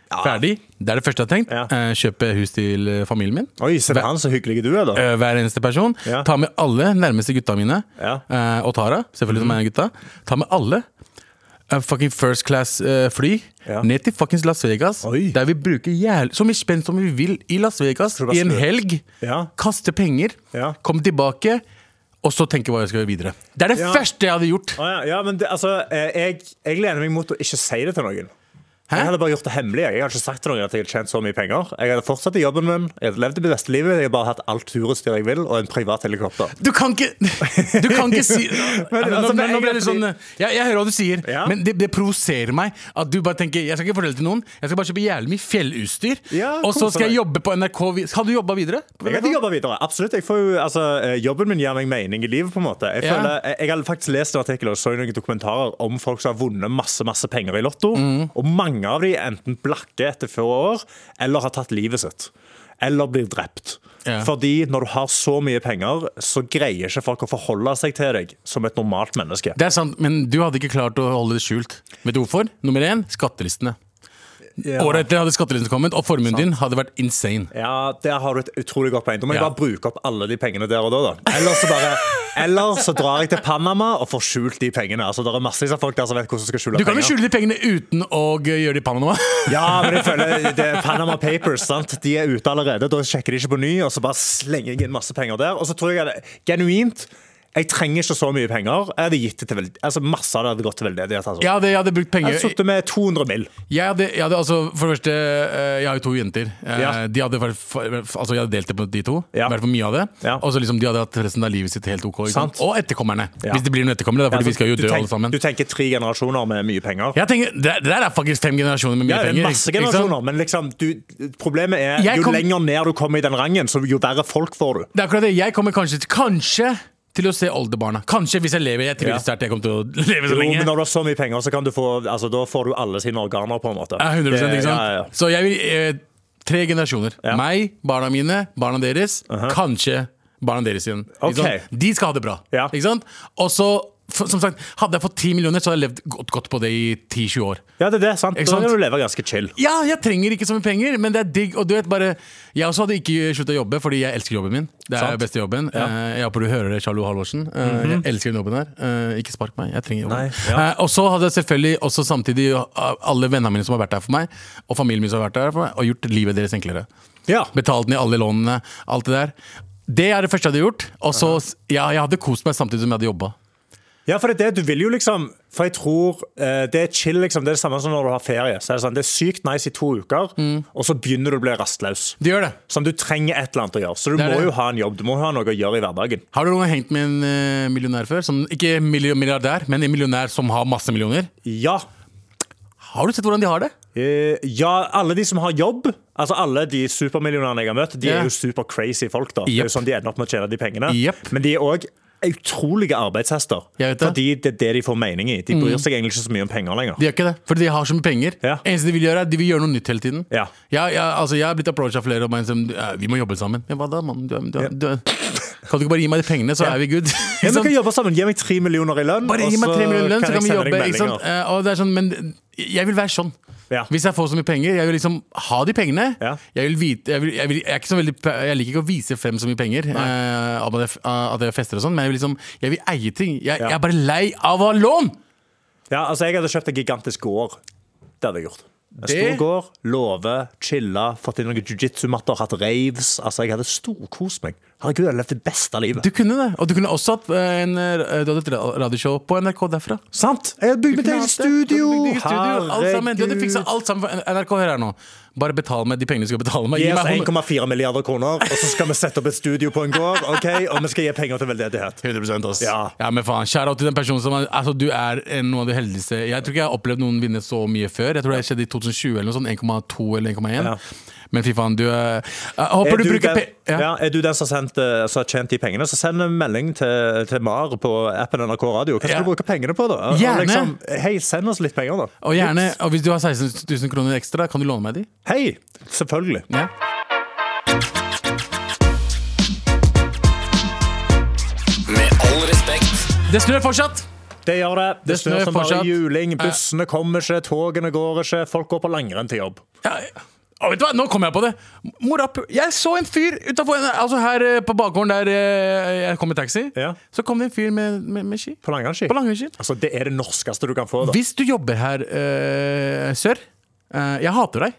C: Ferdig. Det er det første jeg har tenkt.
D: Ja.
C: Eh, kjøpe hus til eh, familien min.
D: Oi, se på han, så hyggelig du er, da.
C: Eh, hver eneste person.
D: Ja.
C: Ta med alle nærmeste gutta mine.
D: Ja. Mhm.
C: eh, og Tara, selvfølgelig som er gutta. Ta med alle. Eh, fucking first class eh, fly.
D: Ja.
C: Ned til fuckings Las Vegas.
D: Oi.
C: Der vi bruker jævlig så mye spenn som vi vil i Las Vegas
D: Skal du bare
C: i en
D: snø?
C: helg.
D: Ja.
C: Kaste penger.
D: Ja.
C: Komme tilbake. Og så tenke hva jeg skal gjøre videre. Det er det
D: Ja.
C: første jeg hadde gjort.
D: Å ja, ja, men det, altså, eh, jeg, jeg lener meg mot å ikke si det til noen. Jeg hadde bare gjort det hemmelig. Jeg hadde ikke sagt til noen at jeg hadde tjent så mye penger. Jeg hadde fortsatt i jobben min, jeg hadde levd det beste livet, jeg hadde bare hatt alt turutstyr jeg vil, og en privat helikopter.
C: Du kan ikke Du kan ikke si
D: Men,
C: Nei, men
D: altså,
C: nå,
D: men
C: nå ble
D: jeg-
C: det sånn eh, Jeg, jeg hører hva du sier,
D: Ja.
C: men det, det provoserer meg at du bare tenker Jeg skal ikke fortelle til noen. Jeg skal bare kjøpe jævlig mye fjellutstyr,
D: Ja,
C: og så
D: kose
C: skal jeg
D: deg.
C: jobbe på NRK. vi- Har du jobba videre? på
D: Jeg
C: NRK?
D: hadde jobba videre. Absolutt. Jeg får jo, altså, eh, jobben min gir meg mening i livet. på en måte Jeg,
C: Ja.
D: føler, jeg, jeg har faktisk lest en artikkel og så noen dokumentarer om folk som har vunnet masse masse penger i Lotto.
C: Mm.
D: Og mange av de enten blakke etter få år, eller har tatt livet sitt. Eller blir drept.
C: Ja.
D: Fordi når du har så mye penger, så greier ikke folk å forholde seg til deg som et normalt menneske.
C: Det er sant, men du hadde ikke klart å holde det skjult. Vet du hvorfor? Nummer én skattelistene. Året etter hadde skattelistene kommet, og formuen din hadde vært insane.
D: Ja, Der har du et utrolig godt poeng. Da må jeg
C: Ja.
D: bare bruke opp alle de pengene der og da. da. Eller så, bare, eller så drar jeg til Panama og får skjult de pengene. Altså, det er massevis av folk der som vet hvordan de skal skjule
C: Du kan jo
D: penger.
C: skjule de pengene uten å g- gjøre det i Panama.
D: Ja, men jeg føler det er Panama Papers, sant? De er ute allerede. Da sjekker de ikke på ny, og så bare slenger jeg inn masse penger der. Og så tror jeg at genuint jeg trenger ikke så mye penger. Jeg hadde gitt det til veld... Altså, Masse av det hadde gått til veldedighet. Altså.
C: Jeg hadde, jeg hadde brukt
D: Jeg
C: penger
D: hadde sittet med 200 mill.
C: Jeg hadde, jeg hadde altså, for det første, eh, jeg har jo to jenter. Eh,
D: Ja.
C: De hadde, vært- for- altså, jeg hadde delt det på de to.
D: Ja.
C: I hvert fall mye av det.
D: Ja.
C: Og så liksom, de hadde hatt resten av livet sitt helt ok. ikke sant?
D: Sant.
C: Og etterkommerne.
D: Ja.
C: Hvis det blir noen etterkommere. da, Fordi
D: Altså,
C: vi skal jo
D: du
C: dø
D: tenk-
C: alle sammen.
D: Du tenker tre generasjoner med mye penger.
C: Jeg tenker, det, det der er faktisk fem generasjoner med mye
D: Ja, det
C: penger.
D: er masse
C: ikke- ikke sant?
D: generasjoner, men liksom, du, problemet er
C: Jeg
D: jo
C: kom-
D: lenger ned du kommer i den rangen, så jo verre folk får du.
C: Det er akkurat det. Jeg kommer kanskje til, kanskje til å se oldebarna. Kanskje, hvis jeg lever. Jeg tviler
D: Ja.
C: sterkt jeg kommer til å leve så
D: Jo,
C: lenge.
D: men når du har så mye penger, så kan du få, altså, da får du alle sine organer, på en måte.
C: Ja, 100
D: Det-
C: ikke sant?
D: ja, ja, ja.
C: Så jeg vil eh, Tre generasjoner.
D: Ja. Uh-huh.
C: Meg, barna mine, barna deres. Kanskje barna deres igjen. Ikke
D: Ok.
C: sant? De skal ha det bra.
D: Ja.
C: Ikke sant? Og så, for- som sagt, hadde jeg fått 10 millioner, så hadde jeg levd godt, godt på det i 10-20 år.
D: Ja, det er det, sant?
C: Ikke
D: Da
C: sant?
D: kan du leve ganske chill.
C: Ja, jeg trenger ikke så mye penger, men det er digg. Og du vet bare Jeg også hadde ikke slutta å jobbe, fordi jeg elsker jobben min. Det er
D: Sant.
C: den beste jobben.
D: Ja. Mhm.
C: Eh, Jeg håper du hører det, Charlo Halvorsen. Eh, Jeg elsker den jobben her. Eh, Ikke spark meg, jeg trenger jobben.
D: Nei, ja.
C: Eh, Og så hadde jeg selvfølgelig også samtidig eh, alle vennene mine som har vært der for meg, og familien min som har vært der for meg, og gjort livet deres enklere.
D: Ja.
C: Betalt ned alle lånene, alt det der. Det er det første jeg hadde gjort. Og så Ja, jeg hadde kost meg samtidig som jeg hadde jobba.
D: Ja, for det er det du vil jo liksom For jeg tror eh, det er chill liksom Det er det samme som når du har ferie Så er det sånn, det er sykt nice i to uker Og så begynner du å bli
C: Mm.
D: rastløs
C: Du gjør det.
D: Som du trenger et eller annet å gjøre Så du
C: Det er
D: må
C: det.
D: jo ha en jobb, du må ha noe å gjøre i hverdagen
C: Har du noen gang hengt med en eh, millionær før? Som, ikke milli- milliardær, men en millionær som har masse millioner?
D: Ja,
C: Har du sett hvordan de har det?
D: Eh, ja alle de som har jobb Altså alle de supermillionerne jeg har møtt De
C: Ja.
D: er jo super crazy folk da Det er
C: Jep.
D: jo sånn de ender opp med å tjene de pengene
C: Jep.
D: Men de er også utrolige arbeidshester
C: Jeg vet det.
D: Fordi det er det de får mening i De bryr seg egentlig ikke så mye om penger lenger
C: De gjør ikke det, for de har så mye penger.
D: Ja.
C: Eneste de vil gjøre, er de vil gjøre noe nytt hele tiden.
D: Ja.
C: Jeg, jeg, altså, jeg har blitt approacha av flere og ment som «Ja, vi må jobbe sammen. Ja, hva da, mann? Du, er- du, er- du, er- kan du ikke bare gi meg de pengene, så er vi good?
D: Ja, men vi
C: Sånn,
D: kan jobbe sammen. Gi meg tre millioner i lønn.
C: bare
D: og
C: gi meg tre millioner i lønn, så
D: jeg
C: kan vi
D: sende deg
C: jobbe. Ikke sant?
D: meldinger.
C: Eh, Og det er sånn, men jeg vil være sånn.
D: Ja.
C: Hvis jeg får så mye penger, jeg vil liksom ha de pengene.
D: Ja.
C: Jeg vil vite jeg, vil, jeg, vil, jeg, er ikke så veldig, jeg liker ikke å vise frem så mye penger, eh, av at jeg- av at jeg fester og sånn, men jeg vil, liksom, jeg vil eie ting. Jeg,
D: Ja.
C: jeg er bare lei av å ha lån!
D: Ja, altså, jeg hadde kjøpt en gigantisk gård. Det hadde jeg gjort. En
C: Det-
D: stor gård, låve, chilla, fått inn noen jiu-jitsu-matter, hatt raves. Altså, Jeg hadde storkost meg. Herregud, jeg hadde levd det beste av livet.
C: Du kunne det. Og du kunne også hatt eh, en, eh, du hadde et ra- radioshow på NRK derfra.
D: Sant? Jeg hadde bygd mitt
C: kunne
D: eget
C: hatt det. Du
D: studio!
C: hadde bygd eget studio, alt sammen. Du hadde fiksa alt sammen for NRK. Hør her nå. Bare betal meg de pengene du skal betale meg.
D: Gi
C: Gi
D: oss
C: meg
D: 1,4 milliarder kroner, og så skal vi sette opp et studio på en gård. ok? Og vi skal gi penger til veldedighet.
C: 100 ass. Ja.
D: Ja.
C: men faen. Shout out til den personen som er, altså, Du er en, noen av de heldigste Jeg tror ikke jeg har opplevd noen vinne så mye før. Jeg tror det skjedde i 2020 eller noe sånt. 1,2 eller 1,1.
D: Ja.
C: Men fy faen, du er jeg Håper
D: Er
C: du,
D: du,
C: bruker
D: den,
C: pe...
D: ja.
C: Ja.
D: er du den som har, sendt, eh, som har tjent de pengene, så send en melding til, til Mar på appen NRK Radio. Hva skal
C: Ja.
D: du bruke pengene på, da? Og- og
C: Gjerne.
D: Hei, send oss litt penger, da.
C: Og gjerne, og hvis du har 16 000 kroner ekstra, kan du låne meg de?
D: Hei! Selvfølgelig.
C: Ja.
G: Med all respekt.
C: Det snør fortsatt!
D: Det gjør det. Det,
C: Det
D: snør
C: snør
D: som bare
C: fortsatt.
D: juling. Bussene kommer ikke, togene går ikke, folk går på langrenn til jobb.
C: Ja, å, vet du hva? Nå kom jeg på det. Mora, pu- jeg så en fyr utenfor, altså her eh, på bakgården der eh, jeg kom i taxi.
D: Ja.
C: Så kom det en fyr med, med, med ski.
D: På langrennsski.
C: På langrennsski.
D: Altså, det er det norskeste du kan få. da.
C: Hvis du jobber her eh, sør eh, Jeg hater deg.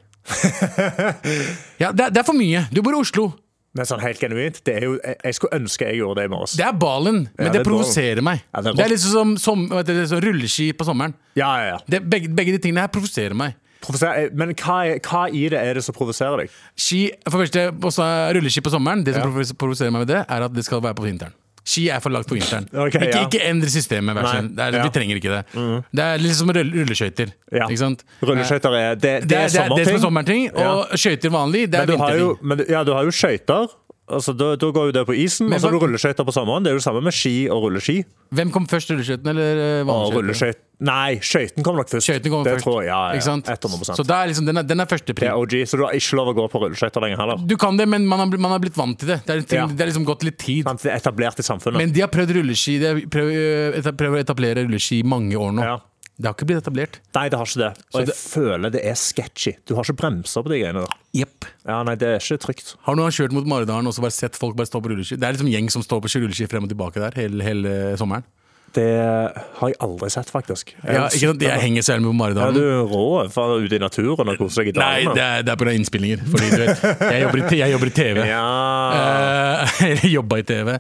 C: ja, det, er- det er for mye. Du bor i Oslo.
D: Men sånn helt genuint, det er jo, jeg, jeg skulle ønske jeg gjorde det i morges.
C: Det er balen, men
D: Ja,
C: det,
D: det er
C: provoserer
D: balen.
C: meg.
D: Ja,
C: det,
D: det er
C: er liksom som, som hva heter det, sånn rulleski på sommeren.
D: Ja, ja, ja.
C: Det, begge, begge de tingene her provoserer meg.
D: Provoserer- Men hva, er- hva i det er det som provoserer deg?
C: Ski, for det første, også er rulleski på sommeren. Det som provo- provoserer meg med det, er at det skal være på vinteren. Ski er for lagt for vinteren.
D: Ok,
C: ikke,
D: ja.
C: ikke endre systemet. vær så
D: Nei,
C: snill. Det er,
D: ja. Mm.
C: Vi trenger ikke det. Det er litt som rull- rulleskøyter.
D: Ja.
C: Ikke sant? Eh,
D: Rulleskøyter er det, det,
C: Det er, det, er, det som
D: sommerting.
C: er sommerting, og skøyter vanlig, det er
D: Men du har
C: vinterting.
D: jo, men, du- ja, du har jo skøyter. Altså, da, da går jo det på isen.
C: Men
D: og så har
C: hva-
D: du rulleskøyter på sommeren. Det er jo det samme med ski og rulleski.
C: Hvem kom først, rulleskøytene eller eh,
D: Og
C: vanlige skøyter?
D: rulleskøyt... Nei, skøytene kommer nok først.
C: Skøytene kommer
D: det
C: først.
D: Tror jeg, ja, ja,
C: ikke sant?
D: 100
C: Så det er liksom, den er, den er første
D: Det
C: pri.
D: er OG, så du har ikke lov å gå på rulleskøyter lenger heller.
C: Du kan det, men man har, bl- man har blitt vant til det. Det er, en ting,
D: Ja.
C: det er liksom gått litt tid.
D: Sant? Det er etablert i samfunnet.
C: Men de har prøvd rulleski De har prøvd, eh, etab- prøvd å etablere rulleski i mange år nå.
D: Ja.
C: Det har ikke blitt etablert.
D: nei, det har ikke det. Og jeg føler det er sketchy. Du har ikke bremser på de greiene der.
C: Jepp.
D: Ja, nei, det er ikke trygt.
C: Har noen kjørt mot Maridalen og så bare sett folk bare stå på rulleski? Det er liksom gjeng som står på rulleski frem og tilbake der hele, hele sommeren.
D: Det har jeg aldri sett, faktisk.
C: Ja, ikke sant? Jeg henger særlig med på
D: Ja, du
C: Maridalen.
D: er rå for å være ute i naturen og kose deg i
C: Nei,
D: dagene.
C: det er, det er på grunn av innspillinger. Fordi du vet, jeg jobber i, t- jeg jobber i TV.
D: Ja.
C: Eh, Eller jobba i TV.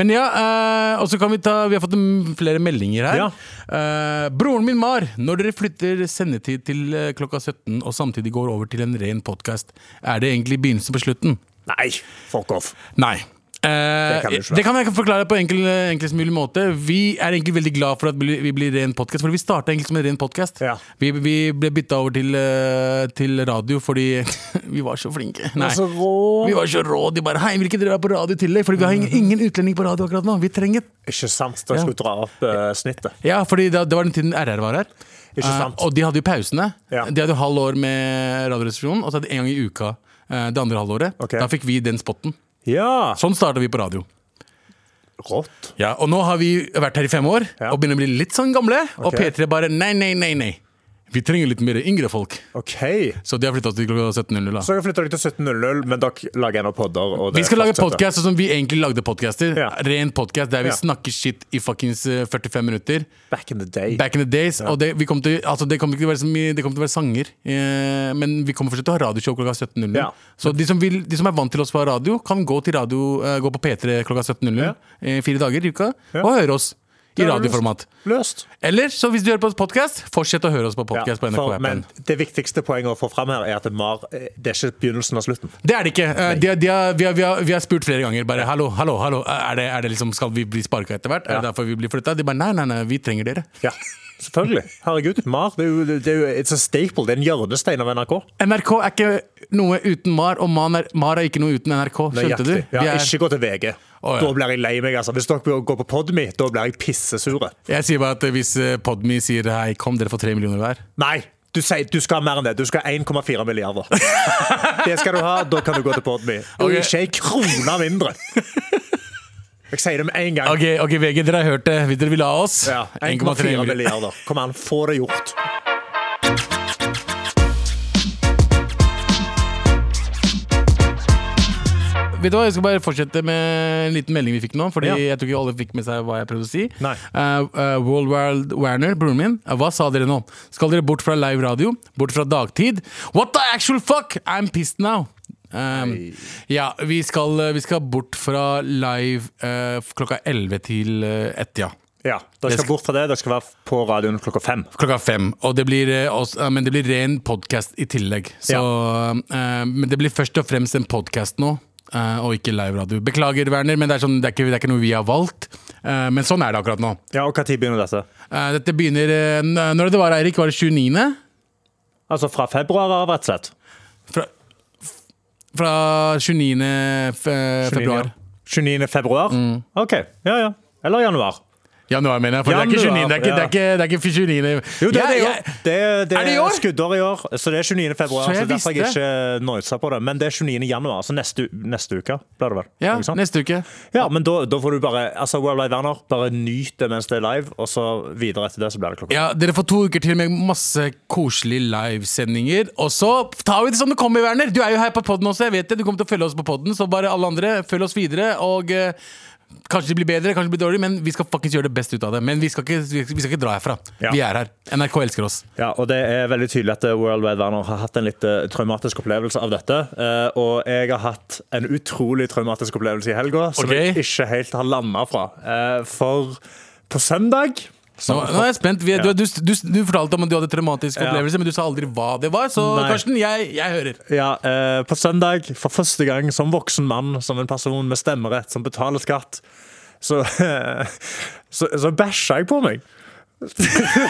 C: Men ja, eh, og så kan vi ta Vi har fått mm, flere meldinger her.
D: Ja.
C: Eh, broren min Mar, når dere flytter sendetid til eh, klokka 17 og samtidig går over til en ren podkast, er det egentlig begynnelsen på slutten?
D: Nei, fuck off.
C: Nei. Eh,
D: kan du ikke være.
C: det kan jeg forklare på enkel, enklest mulig måte. Vi er egentlig veldig glad for at bli- vi blir ren podkast, for vi starta egentlig som en ren podkast.
D: Ja.
C: Vi, vi ble bytta over til, eh, til radio fordi vi var så flinke. Nei.
D: så rå.
C: Vi var så rå. De bare 'hei, vil ikke dere være på radio i tillegg?' Fordi vi har ingen, ingen utlending på radio akkurat nå. Vi trenger
D: Ikke sant, da
C: Ja.
D: skulle du dra opp eh, snittet.
C: Ja, fordi det, det var den tiden RR var her.
D: Ikke sant.
C: Eh, og de hadde jo pausene.
D: Ja.
C: De hadde jo halv år med Radioresepsjonen, og så hadde de en gang i uka eh, det andre halvåret.
D: Ok.
C: Da fikk vi den spotten.
D: Ja,
C: Sånn starta vi på radio.
D: rått.
C: Ja, Og nå har vi vært her i fem år
D: Ja.
C: og begynner å bli litt sånn gamle. Og
D: Ok.
C: P3 bare nei, nei, nei, nei. Vi trenger litt mer yngre folk.
D: OK.
C: Så de har flytta oss til klokka 17.00. da.
D: Så dere flytter dere til 17.00, men dere lager ennå podder. Og
C: Vi
D: det
C: skal lage
D: fortsetter.
C: podkast sånn som vi egentlig lagde podkaster.
D: Ja.
C: Ren podkast der vi
D: Ja.
C: snakker shit i fuckings eh, 45 minutter.
D: Back in the day.
C: Back in the days. Og det, vi kom til, altså, det kommer ikke til å være så mye Det kommer til å være sanger. Eh, men vi kommer fortsatt til å ha radioshow klokka 17.00.
D: Ja.
C: Så de som, vil, de som er vant til oss på radio, kan gå, til radio, eh, gå på P3 klokka 17.00 eh, fire dager i uka og høre oss i
D: er det
C: radioformat.
D: Løst.
C: Eller så hvis du hører på podkast, fortsett å høre oss på podkast på
D: Ja, for, men
C: NRK-appen.
D: det viktigste poenget å få fram her er at Mar, eh, det er ikke begynnelsen av slutten.
C: Det er det ikke. Eh, De, de har, vi, har, vi, har, vi har spurt flere ganger. Bare hallo, hallo, hallo. Er det, er det liksom, skal vi bli sparka etter hvert? Er det derfor vi blir flytta? De bare nei, nei, nei, vi trenger dere.
D: Ja, selvfølgelig. Herregud, Mar det er jo, det er jo it's a staple. Det er en hjørnestein av NRK.
C: NRK er ikke noe uten Mar, og Man er, Mar er ikke noe uten NRK. Skjønte du?
D: Nøyaktig. Ja,
C: Vi er,
D: Ikke gå til VG.
C: Å, ja.
D: Da blir jeg lei meg. altså. Hvis dere går på Podme, da blir jeg pissesure.
C: jeg sier bare at hvis eh, Podme sier hei, kom, dere får tre millioner hver.
D: Nei, du, sier, du skal ha mer enn det. Du skal ha 1,4 milliarder. Det skal du ha, da kan du gå til Podme. Og
C: Ok.
D: ikke ei krone mindre. Jeg sier det med en gang.
C: Ok, ok, VG, dere har hørt det. Hvis dere vil ha oss.
D: Ja, 1,4 milliarder. Kom an, få det gjort.
C: Vet du hva, Jeg skal bare fortsette med en liten melding vi fikk nå. Fordi
D: Ja.
C: jeg tror ikke alle fikk med seg hva jeg prøvde å si.
D: Nei.
C: Eh, eh, World Wild Werner, broren min, eh, hva sa dere nå? Skal dere bort fra live radio? Bort fra dagtid? What the actual fuck? I'm pissed now. Um, ja, vi skal, eh, vi skal bort fra live eh, klokka 11 til eh, ett, ja.
D: Ja, Dere skal bort fra det. Dere skal være på radioen klokka fem.
C: Klokka fem. Og det blir, eh, også, eh, men det blir ren podkast i tillegg. Så, eh, men det blir først og fremst en podkast nå, eh, og ikke liveradio. Beklager, Werner, men det er, sånn, det, er ikke, det er ikke noe vi har valgt. Eh, men sånn er det akkurat nå.
D: Ja, og Når begynner dette?
C: Eh, dette begynner eh, n- Når det var, Eirik? Var det 29.?
D: Altså fra februar av, rett og slett.
C: Fra, f- fra 29. F eh, februar. Mm.
D: 29. februar? OK. Ja, ja. Eller januar.
C: Januar, mener jeg. For det er ikke 29. Det er ikke, det er ikke, det er ikke 29.
D: Jo, det, er det, i år.
C: Jeg- jeg-
D: det, er- det
C: Er det i år?
D: er skuddår i år, så det er 29. februar.
C: Så jeg
D: Så, derfor har jeg
C: visste.
D: ikke noisa på det. Men det er 29. januar, så neste, u- neste uke blir det vel.
C: Ja,
D: Ikke sant?
C: neste uke.
D: ja men da, da får du bare altså, World Live Werner, bare nyt det mens det er live, og så videre etter det så blir det klokka.
C: Ja, Dere får to uker til med masse koselige livesendinger. Og så tar vi det som det kommer, Werner! Du er jo her på podden også, jeg vet det. Du kommer til å følge oss på podden, så bare alle andre, følg oss videre. Og eh, kanskje det blir bedre, kanskje det blir dårlig, men vi skal faktisk gjøre det best ut av det. Men vi skal ikke, vi skal ikke dra herfra.
D: Ja.
C: Vi er her. NRK elsker oss.
D: Ja, og det er veldig tydelig at eh, World Wide Werner har hatt en litt eh, traumatisk opplevelse av dette. eh, Og jeg har hatt en utrolig traumatisk opplevelse i helga som
C: Ok.
D: jeg ikke helt har landa fra. Eh, For på søndag
C: Nå, nå er jeg spent. Vi, du, du, du, du fortalte om at du hadde traumatisk opplevelse, men du sa aldri hva det var. Så
D: Nei.
C: Karsten, jeg, jeg hører.
D: Ja, eh, på søndag, for første gang som voksen mann, som en person med stemmerett, som betaler skatt, så, så, så bæsja jeg på meg.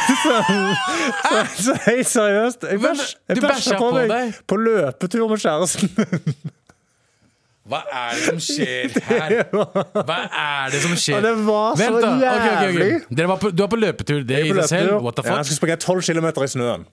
D: så, så, så helt seriøst. Jeg,
C: Men,
D: bæsj,
C: du
D: jeg
C: bæsja
D: bæsja på
C: på
D: meg
C: deg?
D: på løpetur med kjæresten.
C: Hva er det som skjer her? Hva er det som skjer?
D: Og det var så
C: da. Ok, ok, ok.
D: jævlig.
C: Dere var på, du var på løpetur. Det i seg selv. What the
D: Ja, jeg
C: fuck?
D: skulle springe 12 km i snøen.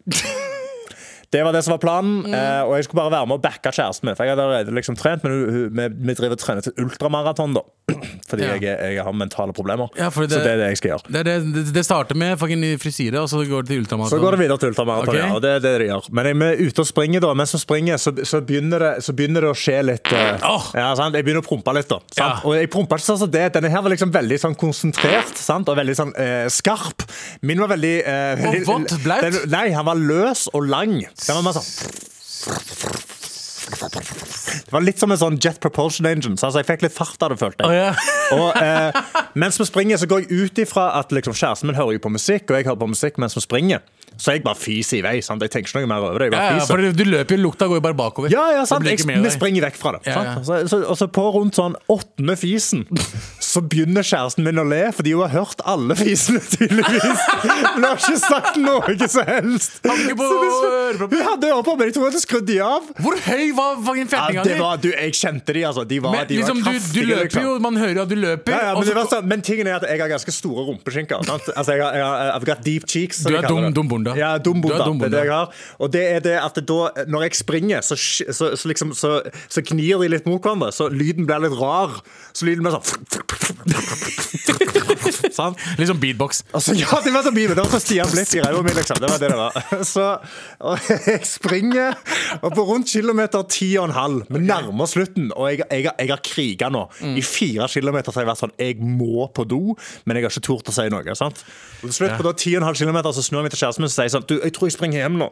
D: Det var det som var planen,
C: Mm.
D: eh, og jeg skulle bare være med og backe kjæresten min. For jeg hadde allerede liksom trent, men hun- hun- vi- vi driver og trener til ultramaraton, da. Fordi
C: Ja.
D: jeg, er- jeg har mentale problemer.
C: Ja, for det-
D: Så det er det jeg skal gjøre.
C: Det, er det, det, det starter med fucking frisyre, og så går det til ultramaraton.
D: Så går det videre til ultramaraton,
C: Ok.
D: ja. Og det er det de gjør. Men jeg er ute og springer, da. Mens jeg springer, så, så, begynner, det, så begynner det å skje litt. eh,
C: Åh!
D: ja, sant? Jeg begynner å prompe litt, da.
C: Ja.
D: Sant? Og jeg prompa ikke sånn som det. Denne her var liksom veldig sånn konsentrert sant? og veldig sånn eh, skarp. Min var veldig eh,
C: Og
D: veldig-
C: vått, blaut?
D: Den- Nei, han var løs og lang. Den var mer sånn det var litt som en sånn jet propulsion engine. Så altså, jeg fikk litt fart av det, følte jeg.
C: Å, ja.
D: Og eh, mens vi springer, så går jeg ut ifra at liksom, kjæresten min hører jo på musikk, og jeg hører på musikk mens vi springer. Så jeg bare fiser i vei. Sant? Jeg tenker ikke noe mer over det. Jeg
C: Ja,
D: bare
C: ja, for
D: fiser.
C: du løper jo, lukta går jo bare bakover.
D: Ja, ja, sant.
C: Det blir
D: Jeg,
C: ikke med
D: vi
C: deg.
D: springer vekk fra det.
C: Ja, ja.
D: Sant? Så, så, og så på rundt sånn åttende fisen så begynner kjæresten min å le, fordi hun har hørt alle fisene, tydeligvis. Men hun har ikke sagt noe som helst.
C: Har ikke på
D: Så hvis-
C: ørepropper?
D: Hun hadde ørepropper, men jeg tror hun hadde skrudd de av.
C: Hvor høy var fucking
D: Ja,
C: fettinga
D: det
C: di?
D: var, du, jeg kjente de, altså. De var,
C: Men
D: de var
C: liksom, du, du
D: kraftige,
C: løper
D: liksom.
C: jo, man hører jo at du løper.
D: Ja, ja,
C: og
D: men,
C: så-
D: det var sånn, men tingen er at jeg har ganske store rumpeskinker. Sant? Altså, jeg har, jeg har, I've got deep cheeks. som
C: Du
D: de
C: er
D: kaller
C: dum-
D: det.
C: dum bunda.
D: Ja, dum
C: Du er
D: bunda.
C: dum
D: Det er det
C: bunda.
D: jeg har. Og det er det at det da, når jeg springer, så, sk- så, så, liksom, så, så knir de litt mot hverandre. Så lyden blir litt rar. Så lyden blir sånn Sant?
C: Liksom beatbox.
D: Altså, ja, det var så mye, men det var så Stian Blipp i ræva mi, liksom. Det var det det var. Så og jeg springer, og på rundt kilometer ti og en halv, vi nærmer slutten, og jeg, jeg, jeg har kriga nå.
C: Mm.
D: I fire kilometer så har jeg vært sånn Jeg må på do, men jeg har ikke tort å si noe. sant? Og til slutt på da ti og en halv kilometer så snur jeg meg til kjæresten min og sier jeg sånn Du, jeg tror jeg springer hjem nå.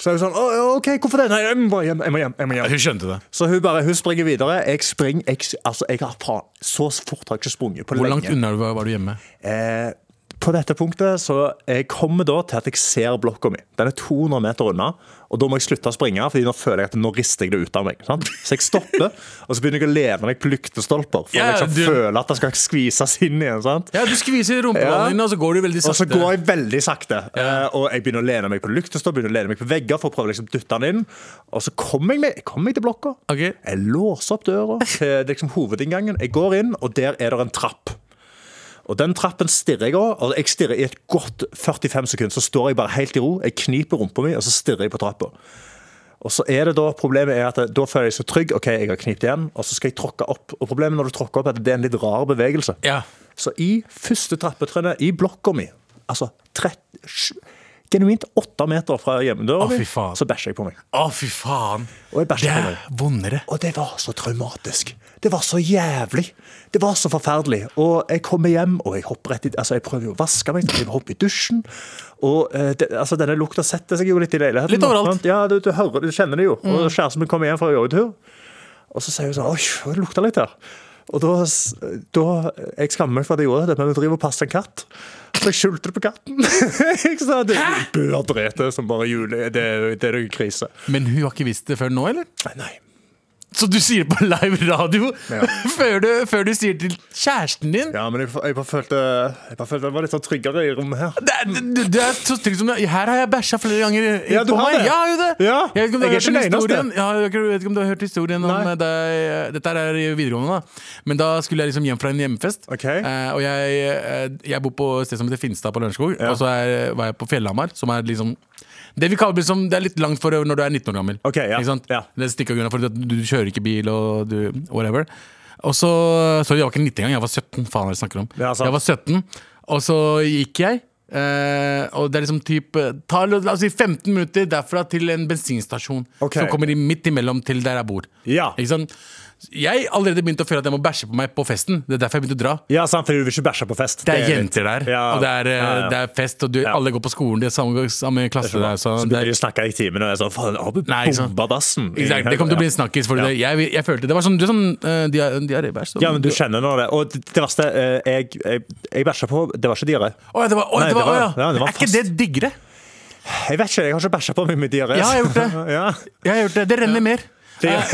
D: Så er hun sånn Å, ja, OK, hvorfor det? Nei, jeg må bare hjem. Jeg må hjem. Jeg må hjem.
C: Hun skjønte det.
D: Så hun bare, hun springer videre. Jeg springer jeg, Altså, jeg har faen Så fort har jeg ikke sprunget på
C: Hvor
D: lenge.
C: langt unna var var du hjemme?
D: Eh, på dette punktet så jeg kommer da til at jeg ser blokka mi. Den er 200 meter unna, og da må jeg slutte å springe, Fordi nå føler jeg at nå rister jeg det ut av meg. Sant? Så jeg stopper, og så begynner jeg å lene meg på lyktestolper for
C: Ja,
D: å liksom
C: du-
D: føle at det skal skvises inn igjen. Sant?
C: Ja, Du skviser rumpeballene
D: Ja.
C: dine, og så går du veldig
D: Og så
C: sakte.
D: går jeg veldig sakte. eh, Og jeg begynner å lene meg på lyktestolper, begynner å lene meg på vegger for å prøve å liksom dytte den inn. Og så kommer jeg, meg- kommer jeg til blokka.
C: Ok.
D: Jeg låser opp døra til liksom, hovedinngangen. Jeg går inn, og der er det en trapp. Og den trappen stirrer jeg òg. Og jeg stirrer i et godt 45 sekunder. Så står jeg bare helt i ro, jeg kniper rumpa mi, og så stirrer jeg på trappa. Og så er det da, Problemet er at da føler jeg meg så trygg. OK, jeg har knipt igjen, og så skal jeg tråkke opp. Og problemet når du tråkker opp, er at det er en litt rar bevegelse.
C: Ja.
D: Så i første trappetrinnet i blokka mi, altså 30, sj- genuint åtte meter fra
C: Å,
D: hjemmedøra mi,
C: fy faen.
D: så bæsjer jeg på meg.
C: Å, fy faen.
D: Og jeg
C: Det
D: bæsjer på
C: er
D: meg.
C: vondere.
D: Og det var så traumatisk. Det var så jævlig. Det var så forferdelig. Og jeg kommer hjem, og jeg hopper rett i Altså, jeg prøver jo å vaske meg, jeg hopper i dusjen. Og eh, det, altså, denne lukta setter seg jo litt i leiligheten.
C: Litt overalt. Mm.
D: Ja, du, du hører det, du kjenner det jo. Og kjæresten min kommer hjem fra joggetur, og så sier hun sånn Oi, det lukter litt her. Og da, s- da Jeg skammer meg for at jeg gjorde det, men vi driver og passer en katt. Så jeg skyldte det på katten. jeg sa det du bør drete som bare jule. Det, det er jo krise.
C: Men hun har ikke visst det før nå, eller?
D: Nei.
C: Så du sier det på live radio før, du, før du sier det til kjæresten din?
D: Ja, men jeg, jeg, bare følte, jeg bare følte det var litt sånn tryggere i rommet her.
C: Det, er- det, det er så trygt som det Her har jeg bæsja flere ganger. i-
D: Ja, du
C: på
D: har
C: meg.
D: det.
C: Jeg har jo det.
D: Ja,
C: Jeg vet ikke om du
D: jeg er
C: har hørt
D: ikke
C: den historien.
D: den eneste.
C: Ja, jeg vet ikke om du har hørt historien om
D: Nei.
C: eh, deg. Dette er i videregående, da. Men da skulle jeg liksom hjem fra en hjemmefest.
D: Ok.
C: Eh, og jeg, eh, jeg bor på et sted som heter Finstad på Lørenskog. Og så er, var jeg på Fjellhamar, som er liksom det, vi kaller, liksom, det er litt langt for når du er 19 år gammel.
D: Ok, ja,
C: Ikke sant?
D: ja.
C: Det stikker av grunn av fordi at du kjører ikke bil og du, whatever. Og så, så jeg var ikke 19 engang, jeg var 17. Faen, hva er det jeg snakker om?
D: Ja, sant.
C: jeg var 17, og så gikk jeg. eh, og det er liksom typ eh, ta, la oss si 15 minutter derfra til en bensinstasjon
D: Ok.
C: som kommer i- midt imellom til der jeg bor.
D: Ja.
C: Ikke sant? Jeg allerede begynte å føle at jeg må bæsje på meg på festen. Det er derfor jeg begynte å dra.
D: Ja, sant, fordi du vil ikke bæsje på fest.
C: Det er
D: litt-
C: jenter der,
D: Ja.
C: og det er, eh,
D: Ja, ja.
C: det er fest, og du, alle går på skolen, de er samme, samme klasse der. Så
D: Så
C: det
D: begynner
C: er,
D: de å snakke i timen, og jeg er sånn Faen, har du
C: Nei, ikke sant.
D: bomba dassen?
C: Exakt, det kommer til å bli en snakkis. Fordi det, jeg, jeg følte, det var sånn, du er sånn eh, dia- diarébæsj. så-
D: Ja, men du kjenner nå det. Og det det verste, eh, jeg, jeg, jeg bæsja på Det var ikke diaré.
C: Å ja, det var, å,
D: Nei,
C: det
D: det
C: var, å,
D: var-
C: ja.
D: ja, det var
C: Er ikke det
D: fast.
C: diggere?
D: Jeg vet ikke, jeg har ikke bæsja på meg med diaré.
C: Ja, jeg har gjort det.
D: ja.
C: Jeg har gjort det. Det renner mer. Eh,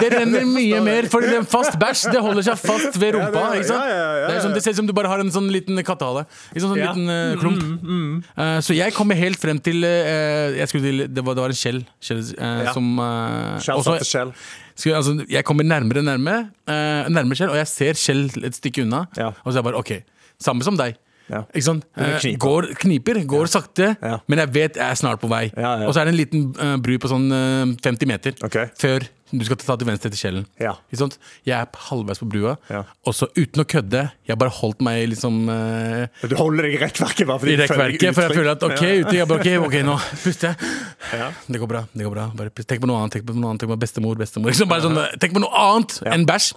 C: Det renner mye mer, Fordi den fast bæsj det holder seg fast ved rumpa.
D: Ja, det-
C: ikke sant?
D: ja, ja, ja,
C: Det, er sånn, det ser ut som du bare har en sånn liten kattehale. Ikke sant, sånn
D: Ja. Mm,
C: liten eh, klump. Eh, så jeg kommer helt frem til eh, jeg skulle til det, var, det var en skjell, skjell eh,
D: Ja.
C: som eh,
D: Skjell
C: også-
D: satte skjell.
C: Skulle, altså, jeg kommer nærmere og nærmere, eh, nærmere skjell, og jeg ser skjell et stykke unna.
D: Ja.
C: Og så er jeg bare OK, samme som deg.
D: Ja.
C: Ikke sant?
D: vil
C: Eh,
D: knipe.
C: går, kniper, går sakte,
D: Ja.
C: men jeg vet jeg er snart på vei.
D: Ja, ja.
C: Og så er det en liten eh, bru på sånn eh, 50 meter
D: Ok.
C: før du skal ta til venstre til skjellen.
D: Ja.
C: Ikke sant? Jeg er halvveis på brua,
D: Ja.
C: og så uten å kødde, jeg bare holdt meg liksom eh,
D: Du holder deg i rekkverket
C: i
D: bare fordi du føler deg
C: rekkverket, for jeg
D: utrygg.
C: føler at OK, ute, jeg bare, ok, ok, nå puster jeg. Det går bra. det går bra bare pust. Tenk på noe annet. Tenk på noe annet, tenk på bestemor, bestemor. Liksom bare sånn, tenk på noe annet enn bæsj.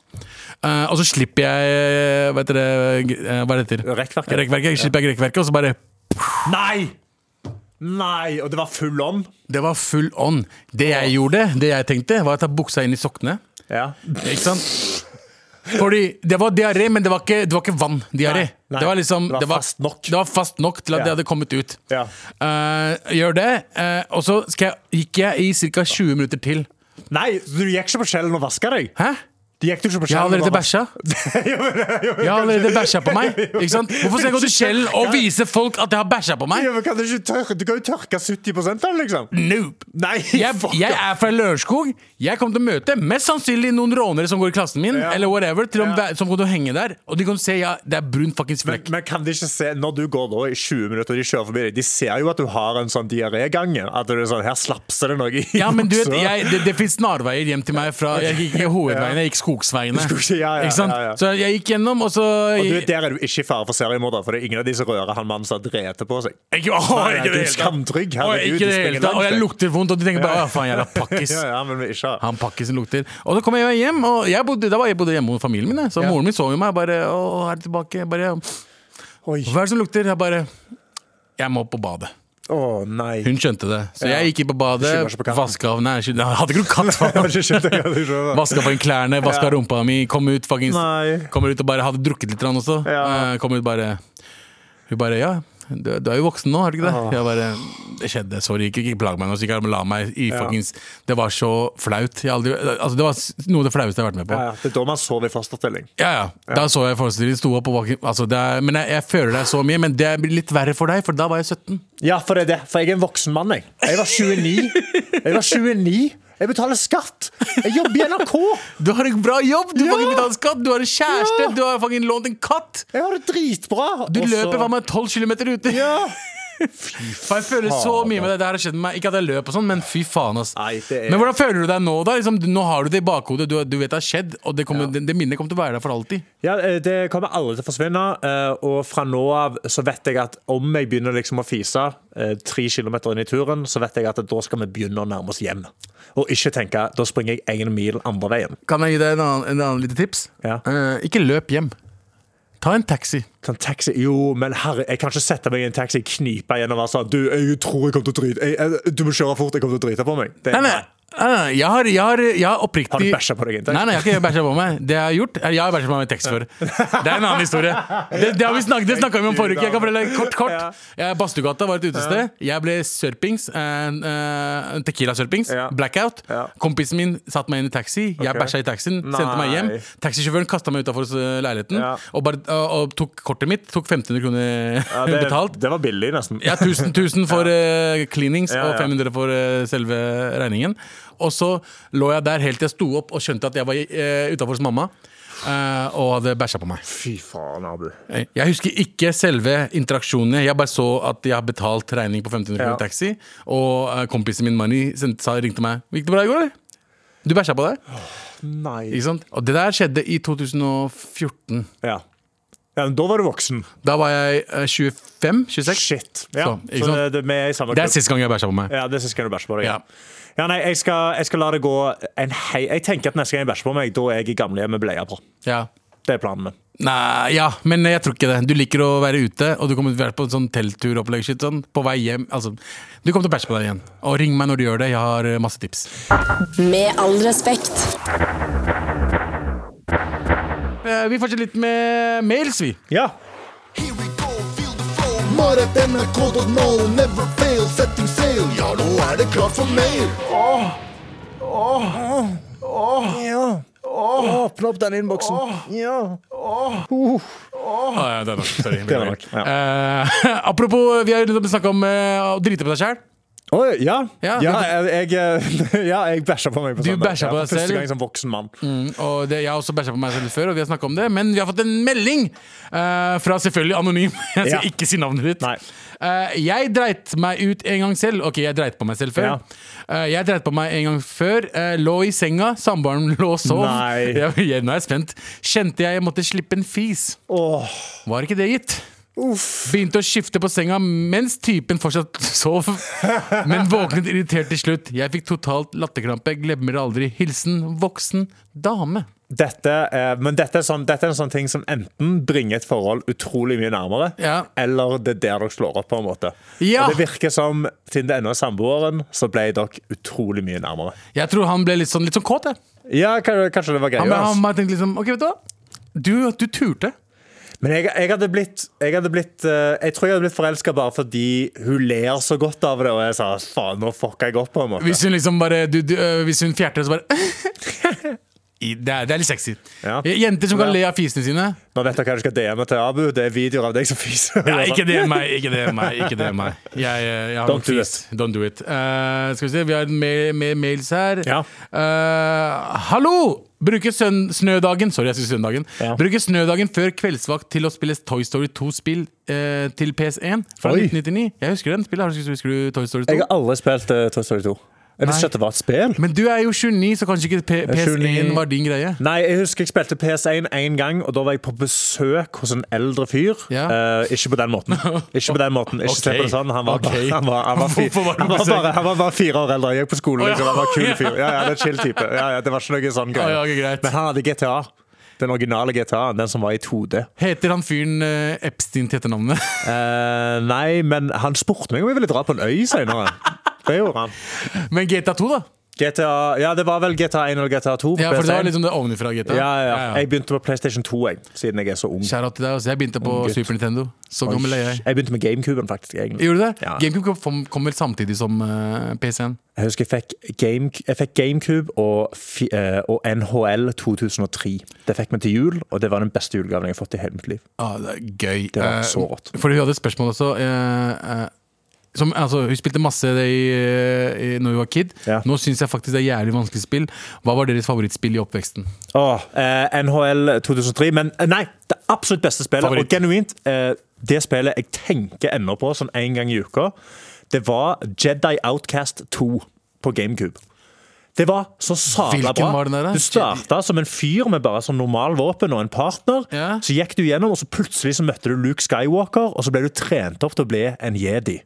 C: Eh, og så slipper jeg vet dere, eh, Hva er det heter?
D: Rekkverket.
C: rekkverket. Jeg slipper jeg rekkverket, og så bare
D: Nei! Nei! Og det var full on.
C: Det var full on. Det jeg gjorde, det jeg tenkte, var å ta buksa inn i sokkene.
D: Ja.
C: Ikke sant? Fordi det var diaré, men det var ikke, det var ikke vann. Diaré.
D: Nei, nei.
C: Det var liksom
D: Det var fast nok.
C: Det var fast nok til at
D: Ja.
C: det hadde kommet ut.
D: Ja.
C: Eh, gjør det. eh, og så skal jeg, gikk jeg i ca. 20 minutter til.
D: Nei, så du gikk ikke på skjellen og vaska deg?
C: Hæ?
D: Du gikk jo ikke på
C: Jeg har
D: skjellen
C: allerede
D: og vas-
C: bæsja. Jeg har allerede bæsja på meg. Ikke sant? Hvorfor skal jeg gå til skjellen og vise folk at jeg har bæsja på meg? Mm.
D: Ja, men kan du, ikke tørke, du kan jo tørke 70 av den, liksom.
C: Nope.
D: Nei,
C: jeg,
D: fuck
C: jeg
D: off.
C: er fra Lørenskog. Jeg kommer til å møte mest sannsynlig noen rånere som går i klassen min,
D: Ja.
C: eller whatever, til å,
D: Ja.
C: som kommer til å henge der. Og de kan se ja, det er brun fuckings
D: men,
C: flekk.
D: men kan de ikke se, når du går da i 20 minutter og de kjører forbi deg, de ser jo at du har en sånn diarégange. At du er sånn, her slapser det noe i
C: Ja, men du vet,
D: buksa.
C: jeg, det, det finnes snarveier hjem til meg fra Jeg gikk ikke hovedveiene, jeg gikk skogsveiene.
D: Du skulle ikke- ja, ja,
C: Ikke sant?
D: ja, ja.
C: Så jeg gikk gjennom, og så
D: Og du vet, Der er du ikke i fare for seriemorder, for det er ingen av de som rører han mannen som har drevet på seg.
C: Ikke, åh,
D: Nei, nei,
C: ikke
D: du er
C: det hele tatt.
D: skamtrygg,
C: Åh,
D: herregud,
C: ikke
D: du
C: det
D: springer
C: hele tatt. Og
D: langt
C: jeg
D: vekk.
C: lukter vondt, og de tenker bare Å, faen, jævla pakkis.
D: Ja, ja, men vi ikke har.
C: Han pakkisen lukter. Og så kom jeg hjem, og jeg bodde, da var jeg bodde hjemme hos familien min. jeg. Så moren min så jo meg bare Å, er du tilbake? Jeg Bare,
D: Oi.
C: Hva er det som lukter? Jeg bare Jeg må på badet.
D: Å nei.
C: Hun skjønte det. Så
D: Ja.
C: jeg gikk inn på badet,
D: Skylder ikke på katten.
C: vaska av Nei, skylder- jeg hadde ikke noen katt.
D: Jeg
C: faen.
D: har ikke skjønt det, jeg hadde ikke skjønt det.
C: Vaska på en klærne, vaska
D: Ja.
C: rumpa mi, kom ut fuckings
D: Nei.
C: Kommer ut og bare hadde drukket litt grann også.
D: Ja.
C: Eh, Kom ut bare Hun bare Ja, du, du er jo voksen nå, er du ikke det?
D: Åh.
C: Jeg bare Det skjedde, sorry, ikke, ikke plag meg nå. Så ikke jeg la meg i fuckings Det var så flaut. Jeg har aldri, altså, det var s- noe av det flaueste jeg har vært med på.
D: Ja, ja. Det er da man sover i fosterstilling.
C: Ja, ja. Da så jeg forestillingen sto opp og var ikke- altså, det er, Men jeg, jeg føler deg så mye, men det blir litt verre for deg, for da var jeg 17.
D: Ja, for det er det. For jeg er en voksen mann, jeg. Jeg var 29. Jeg var 29. Jeg betaler skatt. Jeg jobber i NRK.
C: Du har en bra jobb! Du
D: Ja!
C: fucking betaler skatt, du har en kjæreste,
D: Ja!
C: du har fucking lånt en katt!
D: Jeg har det dritbra.
C: Du
D: Og så-
C: løper hva med 12 km ute!
D: Ja.
C: For jeg føler så mye med det. Det her har skjedd med meg. Ikke at jeg løp og sånn, men fy faen, ass.
D: Nei, det er-
C: Men hvordan føler du deg nå, da? Liksom, du- nå har du det i bakhodet, du, du vet det har skjedd, og det, kommer, det, det minnet kommer til å være der for alltid.
D: Ja, eh, Det kommer aldri til å forsvinne. eh, Og fra nå av så vet jeg at om jeg begynner liksom å fise eh, tre kilometer inn i turen, så vet jeg at da skal vi begynne å nærme oss hjem. Og ikke tenke da springer jeg én mil andre veien.
C: Kan jeg gi deg en annen, en annen lite tips?
D: Ja.
C: Eh, ikke løp hjem. Ta en taxi.
D: Kan Sånn taxi, jo, men herre, jeg kan ikke sette meg i en taxi, knipe igjen og være sånn Du, jeg tror jeg kommer til å drite jeg, jeg, Du må kjøre fort, jeg kommer til å drite på meg. Det,
C: Nei, nei. Nei, nei, jeg har, jeg har, jeg har oppriktig
D: Har du bæsja på deg, Intek?
C: Nei, nei, jeg har ikke bæsja på meg. Det jeg har gjort er- Jeg har bæsja på meg med tekst før. Det er en annen historie. Det, det, har vi snakket, det snakka vi om forrige uke. Jeg kan fortelle deg kort,
D: Ja.
C: kort. Jeg- Badstuegata var et utested. Jeg ble sørpings. en, eh, en Tequila-sørpings.
D: Ja.
C: Blackout.
D: Ja.
C: Kompisen min satte meg inn i taxi. Jeg
D: Ok.
C: bæsja i taxien, sendte meg hjem.
D: Nei.
C: Taxisjåføren kasta meg utafor leiligheten
D: Ja.
C: og, bare, og, og tok kortet mitt. Tok 1500 kroner
D: Ja, det,
C: betalt.
D: det var billig, nesten.
C: Ja, 1000, 1000 for eh, cleanings
D: Ja,
C: og
D: ja.
C: 500 for eh, selve regningen. Og så lå jeg der helt til jeg sto opp og skjønte at jeg var uh, utafor hos mamma. eh, og hadde bæsja på meg.
D: Fy faen, Abu.
C: Jeg husker ikke selve interaksjonene. Jeg bare så at jeg har betalt regning på 1500 kroner
D: Ja.
C: i taxi. Og eh, kompisen min Mani sendte- sa- ringte meg. Gikk det bra i går, eller? Du bæsja på deg?
D: Nei.
C: Ikke sant? Og det der skjedde i 2014.
D: Ja. Ja, men da var du voksen.
C: Da var jeg eh, 25? 26?
D: Shit. Ja.
C: Så,
D: Så,
C: ikke sant?
D: det, det, vi er i samme
C: Det er
D: klubb.
C: siste gang jeg bæsja på meg.
D: Ja, det synes jeg du bæsjer på deg.
C: Ja.
D: Ja. nei, jeg skal, jeg skal la det gå en hei... Jeg tenker at neste gang jeg bæsjer på meg, da er jeg i gamlehjem med bleia på.
C: Ja.
D: Det er planen min.
C: Nei, ja, men jeg tror ikke det. Du liker å være ute, og du kommer til å være på en sånn teltturopplegg. shit, Sånn, på vei hjem. Altså, du kommer til å bæsje på deg igjen. Og ring meg når du gjør det. Jeg har eh, masse tips.
A: Med all respekt.
C: Eh, Vi fortsetter litt med mails, vi.
D: Ja.
B: Here we go, feel the flow. Mar at nrk.no, never fail, setting sail. Ja, nå er det klart for mail.
D: Åpne opp den innboksen. Ja.
C: Ah, ja, det er nok. Sorry.
D: Det er nok. Ja.
C: Eh, apropos, vi har jo nettopp snakka om eh, å drite på deg sjæl.
D: Oi, ja.
C: Ja.
D: Ja, jeg, jeg, ja, jeg bæsja på meg på
C: Du
D: søndag.
C: bæsja på
D: Ja,
C: deg
D: for Første
C: selv.
D: gang som voksen mann.
C: Og det, jeg har også bæsja på meg selv før, og vi har snakket om det. Men vi har fått en melding eh, fra selvfølgelig anonym. Jeg skal
D: Ja.
C: ikke si navnet ditt.
D: Nei.
C: Eh, jeg dreit meg ut en gang selv. Ok, jeg dreit på meg selv før.
D: Ja.
C: Eh, jeg dreit på meg en gang før. eh, lå i senga, samboeren lå og sov.
D: Nei.
C: Jeg, jeg, nå er jeg spent. Kjente jeg jeg måtte slippe en fis.
D: Åh,
C: Var ikke det gitt? Begynte å skifte på senga mens typen fortsatt sov. Men våknet irritert til slutt. Jeg fikk totalt latterkrampe. Glemmer aldri. Hilsen voksen dame.
D: dette, eh, men dette er, sånn, dette er en sånn ting som enten bringer et forhold utrolig mye nærmere,
C: Ja.
D: eller det er der dere slår opp, på en måte.
C: Ja.
D: Og det virker som siden det ennå er samboeren, så ble dere utrolig mye nærmere.
C: Jeg tror han ble litt sånn, litt sånn kåt. Jeg.
D: Ja, kanskje, kanskje det var
C: Han,
D: greia.
C: ble,
D: ass.
C: han bare tenkte liksom OK, vet du hva? Du, du turte.
D: Men jeg, jeg hadde blitt, jeg, hadde blitt eh, jeg tror jeg hadde blitt forelska bare fordi hun ler så godt av det, og jeg sa faen, nå fucka jeg opp, på en måte.
C: Hvis hun liksom bare du, du, øh, Hvis hun fjerter det, så bare I- det, er, det er litt sexy.
D: Ja.
C: Jenter som kan
D: Ja.
C: le av fisene sine.
D: Nå vet dere hva du skal DM-e til Abu. Det er videoer av deg som fiser.
C: Nei, ikke det meg, ikke det meg. ikke det meg jeg, eh, jeg har
D: Don't
C: nok
D: do
C: fis. Don't do it. Eh, skal vi se, vi har mer, mer mails her.
D: Ja.
C: Eh, hallo! Bruker søn, snødagen Sorry, jeg sier søndagen.
D: Ja.
C: Bruker snødagen før kveldsvakt til å spille Toy Story 2-spill eh, til PS1 fra
D: Oi.
C: 1999. Jeg husker den spillet. Har du- Husker du Toy Story 2?
D: Jeg har aldri spilt eh, Toy Story 2. Jeg visste
C: Nei.
D: ikke at det var et spill.
C: Men du er jo 29, så kanskje ikke P- PS1
D: 29.
C: var din greie.
D: Nei, jeg husker jeg spilte PS1 én gang, og da var jeg på besøk hos en eldre fyr.
C: Ja.
D: Eh, ikke på den måten. Ikke på den måten. Ikke se
C: Ok.
D: på det sånn. Han var, bare-
C: Ok.
D: han var, han var, fi-
C: Hvorfor var du
D: han var,
C: besøk?
D: bare, han var bare fire år eldre. Jeg gikk på skolen.
C: Å, ja.
D: Liksom. Han var en kul fyr. Ja, ja, det er chill type. Ja, ja, det var ikke noe sånn
C: Å, ja,
D: greie.
C: ok, greit.
D: Men han hadde GTA. Den originale GTA, den som var i 2D.
C: Heter han fyren eh, Epstein til etternavnet?
D: Eh, nei, men han spurte meg om jeg ville dra på en øy senere. Det gjorde han.
C: Men GTA 2, da?
D: GTA, ja, det var vel GTA 1 eller GTA 2 på
C: Ja, for det var
D: PS1.
C: liksom det ovenifra GTA.
D: ja, ja. Jeg begynte på PlayStation 2, jeg, siden jeg er så ung.
C: Kjære til deg, altså. Jeg begynte på
D: Ung gutt.
C: Super Nintendo. Så gammel er jeg.
D: Jeg begynte med GameCuben, faktisk. Egentlig.
C: Gjorde du det?
D: Ja.
C: GameCube kom, kom vel samtidig som eh, PC-en.
D: Jeg husker jeg fikk, Game, jeg fikk GameCube og, fi- eh, og NHL 2003. Det fikk vi til jul, og det var den beste julegaven jeg har fått i hele mitt liv.
C: Ah, det er gøy.
D: Det var
C: Eh,
D: så rått.
C: Fordi hun hadde et spørsmål også. eh, eh, som, altså, hun spilte masse det i, eh, i, når hun var kid.
D: Ja.
C: Nå syns jeg faktisk det er jævlig vanskelig spill. Hva var deres favorittspill i oppveksten?
D: Åh, eh, NHL 2003, men eh, nei, det absolutt beste spillet,
C: Favoritt.
D: og genuint, eh, det spillet jeg tenker ennå på sånn en gang i uka, det var Jedi Outcast 2 på GameCube. Det var så sabla
C: Hvilken
D: bra.
C: var den der, da?
D: Du starta som en fyr med bare sånn normal våpen og en partner.
C: Ja.
D: Så gikk du gjennom, og så plutselig så møtte du Luke Skywalker, og så ble du trent opp til å bli en jedi.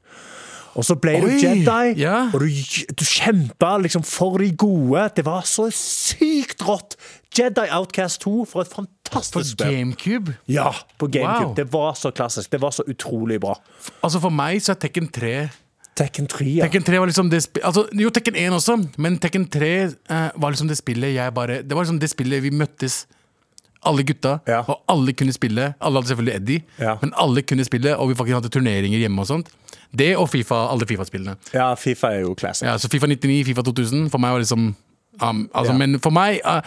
D: Og så ble du
C: Oi,
D: Jedi,
C: ja.
D: og du, du kjempa liksom for de gode. Det var så sykt rått! Jedi Outcast 2 for et
C: For
D: fantastisk spill.
C: GameCube?
D: Ja, på GameCube.
C: Wow.
D: Det var så klassisk. Det var så utrolig bra.
C: Altså For meg så er Tekken 3
D: Tekken 3, ja.
C: Tekken 3 var liksom det spi- altså, Jo, Tekken 1 også, men Tekken 3 eh, var liksom det spillet jeg bare Det var liksom det spillet vi møttes alle gutta,
D: Ja.
C: og alle kunne spille. Alle hadde selvfølgelig Eddie,
D: Ja.
C: men alle kunne spille, og vi fucking hadde turneringer hjemme og sånt. Det og FIFA, alle Fifa-spillene.
D: ja, Fifa er jo classic.
C: Ja, så Fifa 99, Fifa 2000 For meg var liksom um, altså,
D: Ja.
C: Men for meg uh,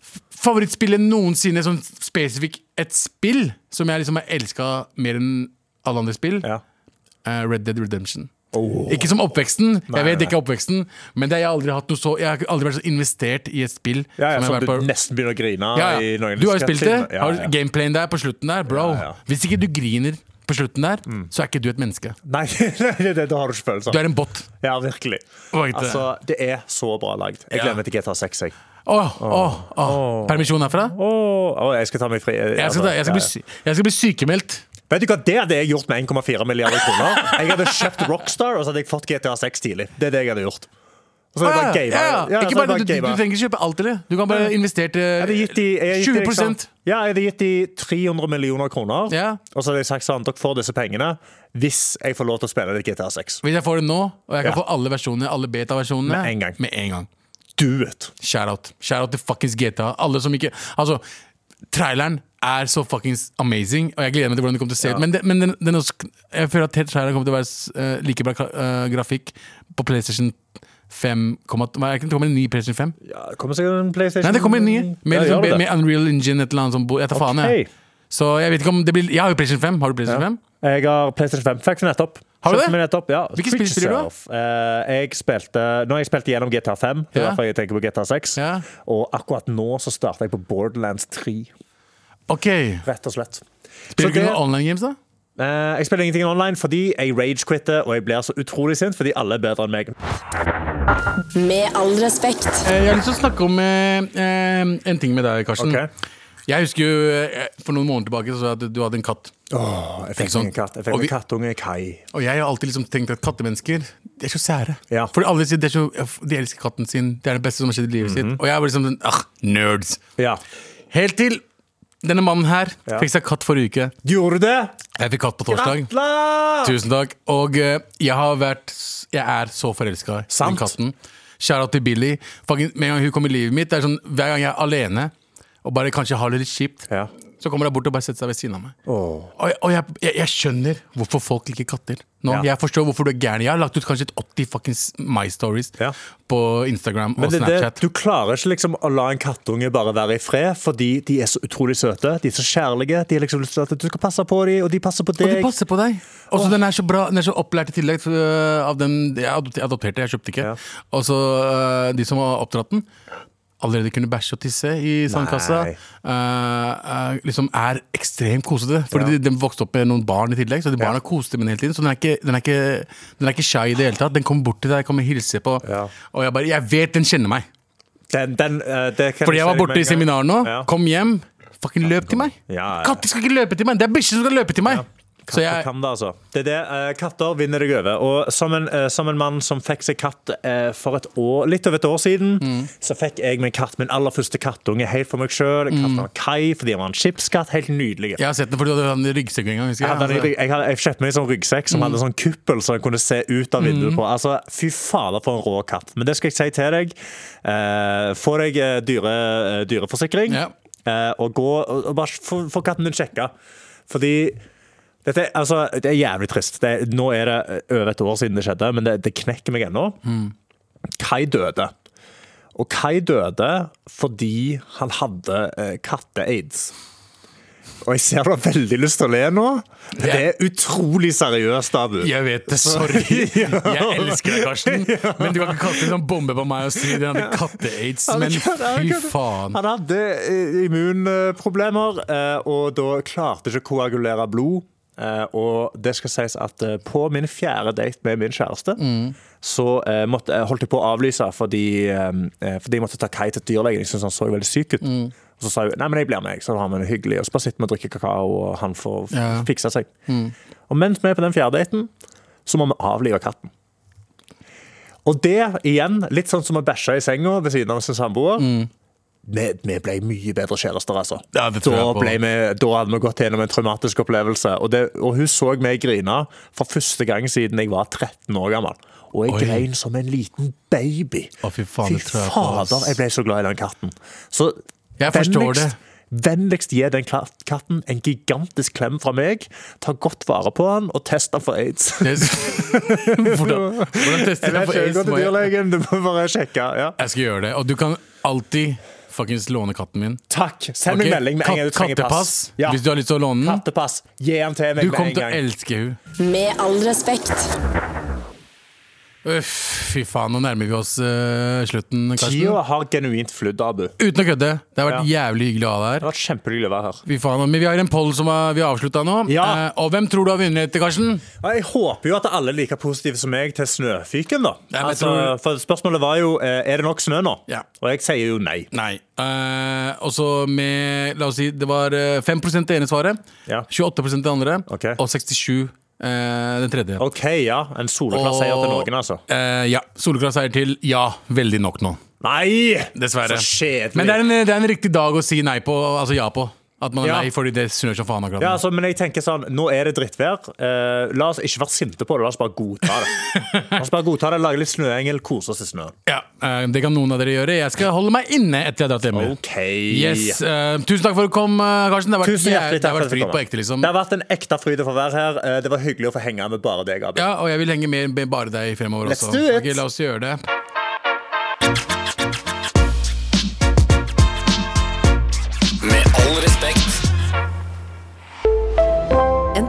C: f- Favorittspillet noensinne Sånn spesifikk Et spill som jeg liksom har elsket Mer enn alle andre spill
D: Ja.
C: eh, Red Dead Redemption
D: Oh.
C: Ikke som oppveksten, jeg vet ikke oppveksten Men det har jeg aldri hatt noe så Jeg har aldri vært så investert i et spill
D: Ja, ja,
C: som jeg har
D: Som
C: vært
D: du
C: på-
D: nesten begynner å grine
C: ja,
D: i
C: ja.
D: noen
C: Du har jo spilt det,
D: sketsjer. Ja,
C: har
D: ja.
C: gameplayen der på slutten der Bro,
D: Ja, Mm. ja.
C: hvis ikke du griner på slutten der Så er ikke du et menneske
D: Nei, det, det, da har du ikke følelser.
C: Du er en bot
D: Ja, virkelig.
C: Oi, det-
D: Altså, det er så bra lagd. Jeg
C: Ja.
D: glemmer til GTA 6, jeg.
C: Åh, åh, åh. Permisjon herfra?
D: Åh, åh, jeg skal ta meg fri.
C: Jeg skal, ta, jeg, skal bli, sy- jeg skal bli sykemeldt.
D: Vet du hva, Det hadde jeg gjort med 1,4 milliarder kroner. Jeg hadde kjøpt Rockstar og så hadde jeg fått GTA 6 tidlig. Det er det jeg hadde gjort. Og så hadde jeg bare
C: Ja,
D: gamet.
C: Ah, ja, ja.
D: Ja, så
C: Ikke
D: hadde jeg
C: bare det, du, du
D: gamet.
C: trenger ikke kjøpe alt til det. Du kan bare investere
D: Jeg hadde gitt de,
C: til
D: jeg hadde
C: 20
D: gitt de liksom, Ja, jeg hadde gitt de 300 millioner kroner.
C: Ja.
D: Og så hadde jeg sagt sånn, dere får disse pengene hvis jeg får lov til å spille litt GTA 6.
C: Hvis jeg får det nå, og jeg kan
D: Ja.
C: få alle versjonene, alle beta-versjonene
D: Med en gang.
C: Med en gang.
D: Do it!
C: Shout-out. Shout-out til fuckings GTA. Alle som ikke Altså, traileren er så fuckings amazing, og jeg gleder meg til hvordan det kommer til å se ut. Men, det, men den, den også, jeg føler at hele traileren kommer til å være s- eh, like bra eh, grafikk på PlayStation 5, komma- hva er det, det kommer en ny PlayStation 5?
D: Ja, det kommer sikkert en PlayStation
C: Nei, det kommer en ny. Med,
D: Mm. Ja,
C: liksom,
D: gjør det det?
C: med Unreal Engine et eller annet sånt. bo- Jeg tar faen, jeg.
D: Ok.
C: Så jeg vet ikke om det blir Jeg har jo PlayStation 5. Har du PlayStation 5?
D: Jeg har PlayStation 5. Fikk den nettopp.
C: Har du
D: Kjøpte
C: det?
D: meg Nettopp, ja.
C: Hvilke spill spiller du da?
D: Switchsurf. Eh, jeg spilte, nå har jeg spilt gjennom GTA 5, det er
C: Ja.
D: derfor jeg tenker på GTA 6.
C: Ja.
D: Og akkurat nå så starter jeg på Borderlands 3,
C: OK.
D: rett og slett.
C: Spiller
D: Så
C: du ikke
D: det-
C: noen online games, da?
D: Eh, jeg spiller ingenting online fordi jeg ragequitter og jeg blir så utrolig sint fordi alle er bedre enn meg.
A: Med all respekt.
C: Eh, Jeg har lyst til å snakke om eh, eh, en ting med deg, Karsten.
D: Ok.
C: Jeg husker jo eh, for noen måneder tilbake så sa jeg at du hadde en katt.
D: Jeg
C: Ikke
D: fikk sånn-
C: sant?
D: meg en katt. Jeg fikk
C: Og
D: meg
C: vi-
D: en kattunge Kai.
C: Og jeg har alltid liksom tenkt at kattemennesker De er så sære.
D: Ja.
C: Fordi alle sier de, er så, de elsker katten sin, det er det beste som har skjedd i livet
D: Mhm.
C: sitt. Og jeg var liksom sånn ah, nerds.
D: Ja.
C: Helt til denne mannen her
D: Ja.
C: fikk seg katt forrige uke.
D: Gjorde du det?
C: Jeg fikk katt på torsdag.
D: Gratulerer!
C: Tusen takk. Og eh, jeg har vært Jeg er så forelska i den
D: Sant.
C: katten. Shout-out til Billy. Fucking, med en gang hun kom i livet mitt, det er sånn hver gang jeg er alene og bare kanskje har det litt kjipt,
D: Ja.
C: så kommer hun bort og bare setter seg ved siden av meg.
D: Åh.
C: Og, jeg, og jeg, jeg, jeg skjønner hvorfor folk liker katter nå.
D: Ja.
C: Jeg forstår hvorfor du er gæren. Jeg har lagt ut kanskje et 80 fuckings My Stories
D: Ja.
C: på Instagram og
D: Men det, er det,
C: Snapchat.
D: du klarer ikke liksom å la en kattunge bare være i fred, fordi de er så utrolig søte. De er så kjærlige. De har liksom lyst til at du skal passe på dem, og de passer på
C: og de
D: deg.
C: passer på deg. Og så den er så bra, den er så opplært i tillegg. for, øh, av den, jeg adop- adopterte, jeg kjøpte ikke.
D: Ja.
C: Og så øh, de som har oppdratt den, allerede kunne bæsje og tisse i sandkassa.
D: Nei.
C: øh, øh, liksom er ekstremt kosete. Fordi de, de vokste opp med noen barn i tillegg, så de barna koste med den hele tiden. Så den er ikke, den er ikke, den er ikke shy i det hele tatt. Den kommer bort til deg, kommer og hilser på.
D: Ja.
C: Og jeg bare Jeg vet den kjenner meg!
D: Den, den, eh, det kan
C: Fordi jeg
D: si
C: var
D: med
C: borte
D: en
C: i
D: gang.
C: seminar nå.
D: Ja.
C: Kom hjem. Fucking løp til meg.
D: Ja, ja.
C: Katter skal ikke løpe til meg! Det er bikkjer som skal løpe til meg! Så
D: Katter
C: jeg,
D: kan det, altså. Det er det. eh, Katter vinner deg over. Og som en, eh, som en mann som fikk seg katt eh, for et år, litt over et år siden,
C: Mm.
D: så fikk jeg min katt, min aller første kattunge, helt for meg sjøl.
C: Mm.
D: Katten var Kai fordi han var en skipskatt. Helt nydelig.
C: Jeg har sett den fordi du hadde den i ryggsekken en gang. husker
D: Jeg, hadde, en-
C: Altså, Mm.
D: jeg, hadde, jeg kjøpte meg en sånn ryggsekk som hadde en sånn kuppel som jeg kunne se ut av vinduet på. Altså, Fy fader, for en rå katt. Men det skal jeg si til deg. Eh, få deg eh, dyre, eh, dyreforsikring,
C: Ja.
D: eh, og, gå, og, og bare få, få katten din sjekka. Fordi dette, er- altså, det er jævlig trist. Det, er- nå er det eh, over et år siden det skjedde, men det, det knekker meg ennå. Kai døde. Og Kai døde fordi han hadde eh, katte-aids. Og jeg ser du har veldig lyst til å le nå, men det er utrolig seriøst, Abu.
C: Jeg vet det, sorry. Jeg elsker deg, Karsten. Men du kan ikke kaste en sånn bombe på meg og si den hadde katte-aids. Men fy faen.
D: Han hadde eh, immunproblemer, eh, og da klarte ikke å koagulere blod. Eh, Og det skal sies at eh, på min fjerde date med min kjæreste,
C: Mm.
D: så eh, måtte, eh, holdt jeg på å avlyse fordi, eh, fordi jeg måtte ta Kai til dyrlegen. Jeg syntes han så veldig syk ut.
C: Mm.
D: Og så sa hun nei, men jeg blir med, jeg, så har vi det hyggelig. Og så bare sitter vi og drikker kakao, og han får f-
C: Ja. Mm.
D: fikse seg. Og mens vi er på den fjerde daten, så må vi avlive katten. Og det igjen, litt sånn som å bæsje i senga ved siden av sin samboer. Vi, vi ble mye bedre kjærester, altså.
C: Ja, det tror
D: da,
C: jeg på.
D: ble vi, da hadde vi gått gjennom en traumatisk opplevelse. Og, det, og hun så meg grine for første gang siden jeg var 13 år gammel. Og jeg
C: Oi.
D: grein som en liten baby.
C: Å, fy faen, det tror jeg på, ass.
D: fader, jeg ble så glad i den katten. Så
C: Jeg forstår det.
D: Vennligst gi den kla- katten en gigantisk klem fra meg. Ta godt vare på han, og test han for aids.
C: Det- Hvordan, hvordan tester jeg
D: Jeg
C: for
D: vet ikke,
C: aids? Må
D: gå til
C: Jeg,
D: dyrlegen, du må bare sjekke. Ja.
C: jeg skal gjøre det. Og du kan alltid fuckings låne katten min.
D: Takk. Send meg
C: Ok?
D: melding med en gang du
C: Kat-
D: trenger
C: kattepass,
D: pass. Ja.
C: hvis du har lyst til å låne den.
D: Kattepass. Gi den til meg
C: Du kommer
D: med en
C: til å
D: gang.
C: elske hun
A: Med all respekt.
C: Uff, fy faen, nå nærmer vi oss eh, slutten, Karsten.
D: Tida har genuint flydd, Abu. Det
C: Uten å kødde. Det har vært jævlig hyggelig å ha deg her.
D: har vært kjempehyggelig å være her.
C: Fy faen, Men vi har en poll som er, vi har avslutta nå.
D: Ja.
C: Eh, og hvem tror du har vunnet, Karsten?
D: Ja, Jeg håper jo at alle er like positive som meg til snøfyken, da.
C: men jeg
D: altså,
C: tror-
D: For spørsmålet var jo eh, er det nok snø nå,
C: Ja.
D: og jeg sier jo nei.
C: Nei. Eh, og så med La oss si det var eh, 5 det ene svaret,
D: Ja.
C: 28 det andre
D: Ok.
C: og 67 eh, den tredje.
D: OK, ja. En soleklar seier til noen, altså.
C: Eh, ja. Soleklar seier til ja. Veldig nok nå.
D: Nei!
C: Dessverre.
D: Så kjedelig.
C: Men det er, en, det er en riktig dag å si nei på, altså ja på. At man er
D: Ja.
C: nei fordi det snør som faen akkurat
D: Ja,
C: nå.
D: altså, men jeg tenker sånn, nå er det drittvær. Eh, la oss ikke være sinte på det, la oss bare godta det. La oss bare godta det, Lage litt snøengel, kose oss i snøen.
C: Ja. eh, det kan noen av dere gjøre. Jeg skal holde meg inne etter jeg har dratt hjemme.
D: OK.
C: Yes, eh, Tusen takk for at du kom, eh, Karsten. Det har vært,
D: Tusen hjertelig
C: det
D: takk
C: har
D: for
C: vært
D: at du
C: fryd
D: kom.
C: på ekte, liksom.
D: Det har vært en ekte fryd å få være her. Eh, Det var hyggelig å få henge med bare deg, Abu.
C: Ja, og jeg vil henge mer med bare deg fremover
D: Let's
C: også.
D: do it.
C: Ok, la oss gjøre det.
G: Med all respekt.
H: En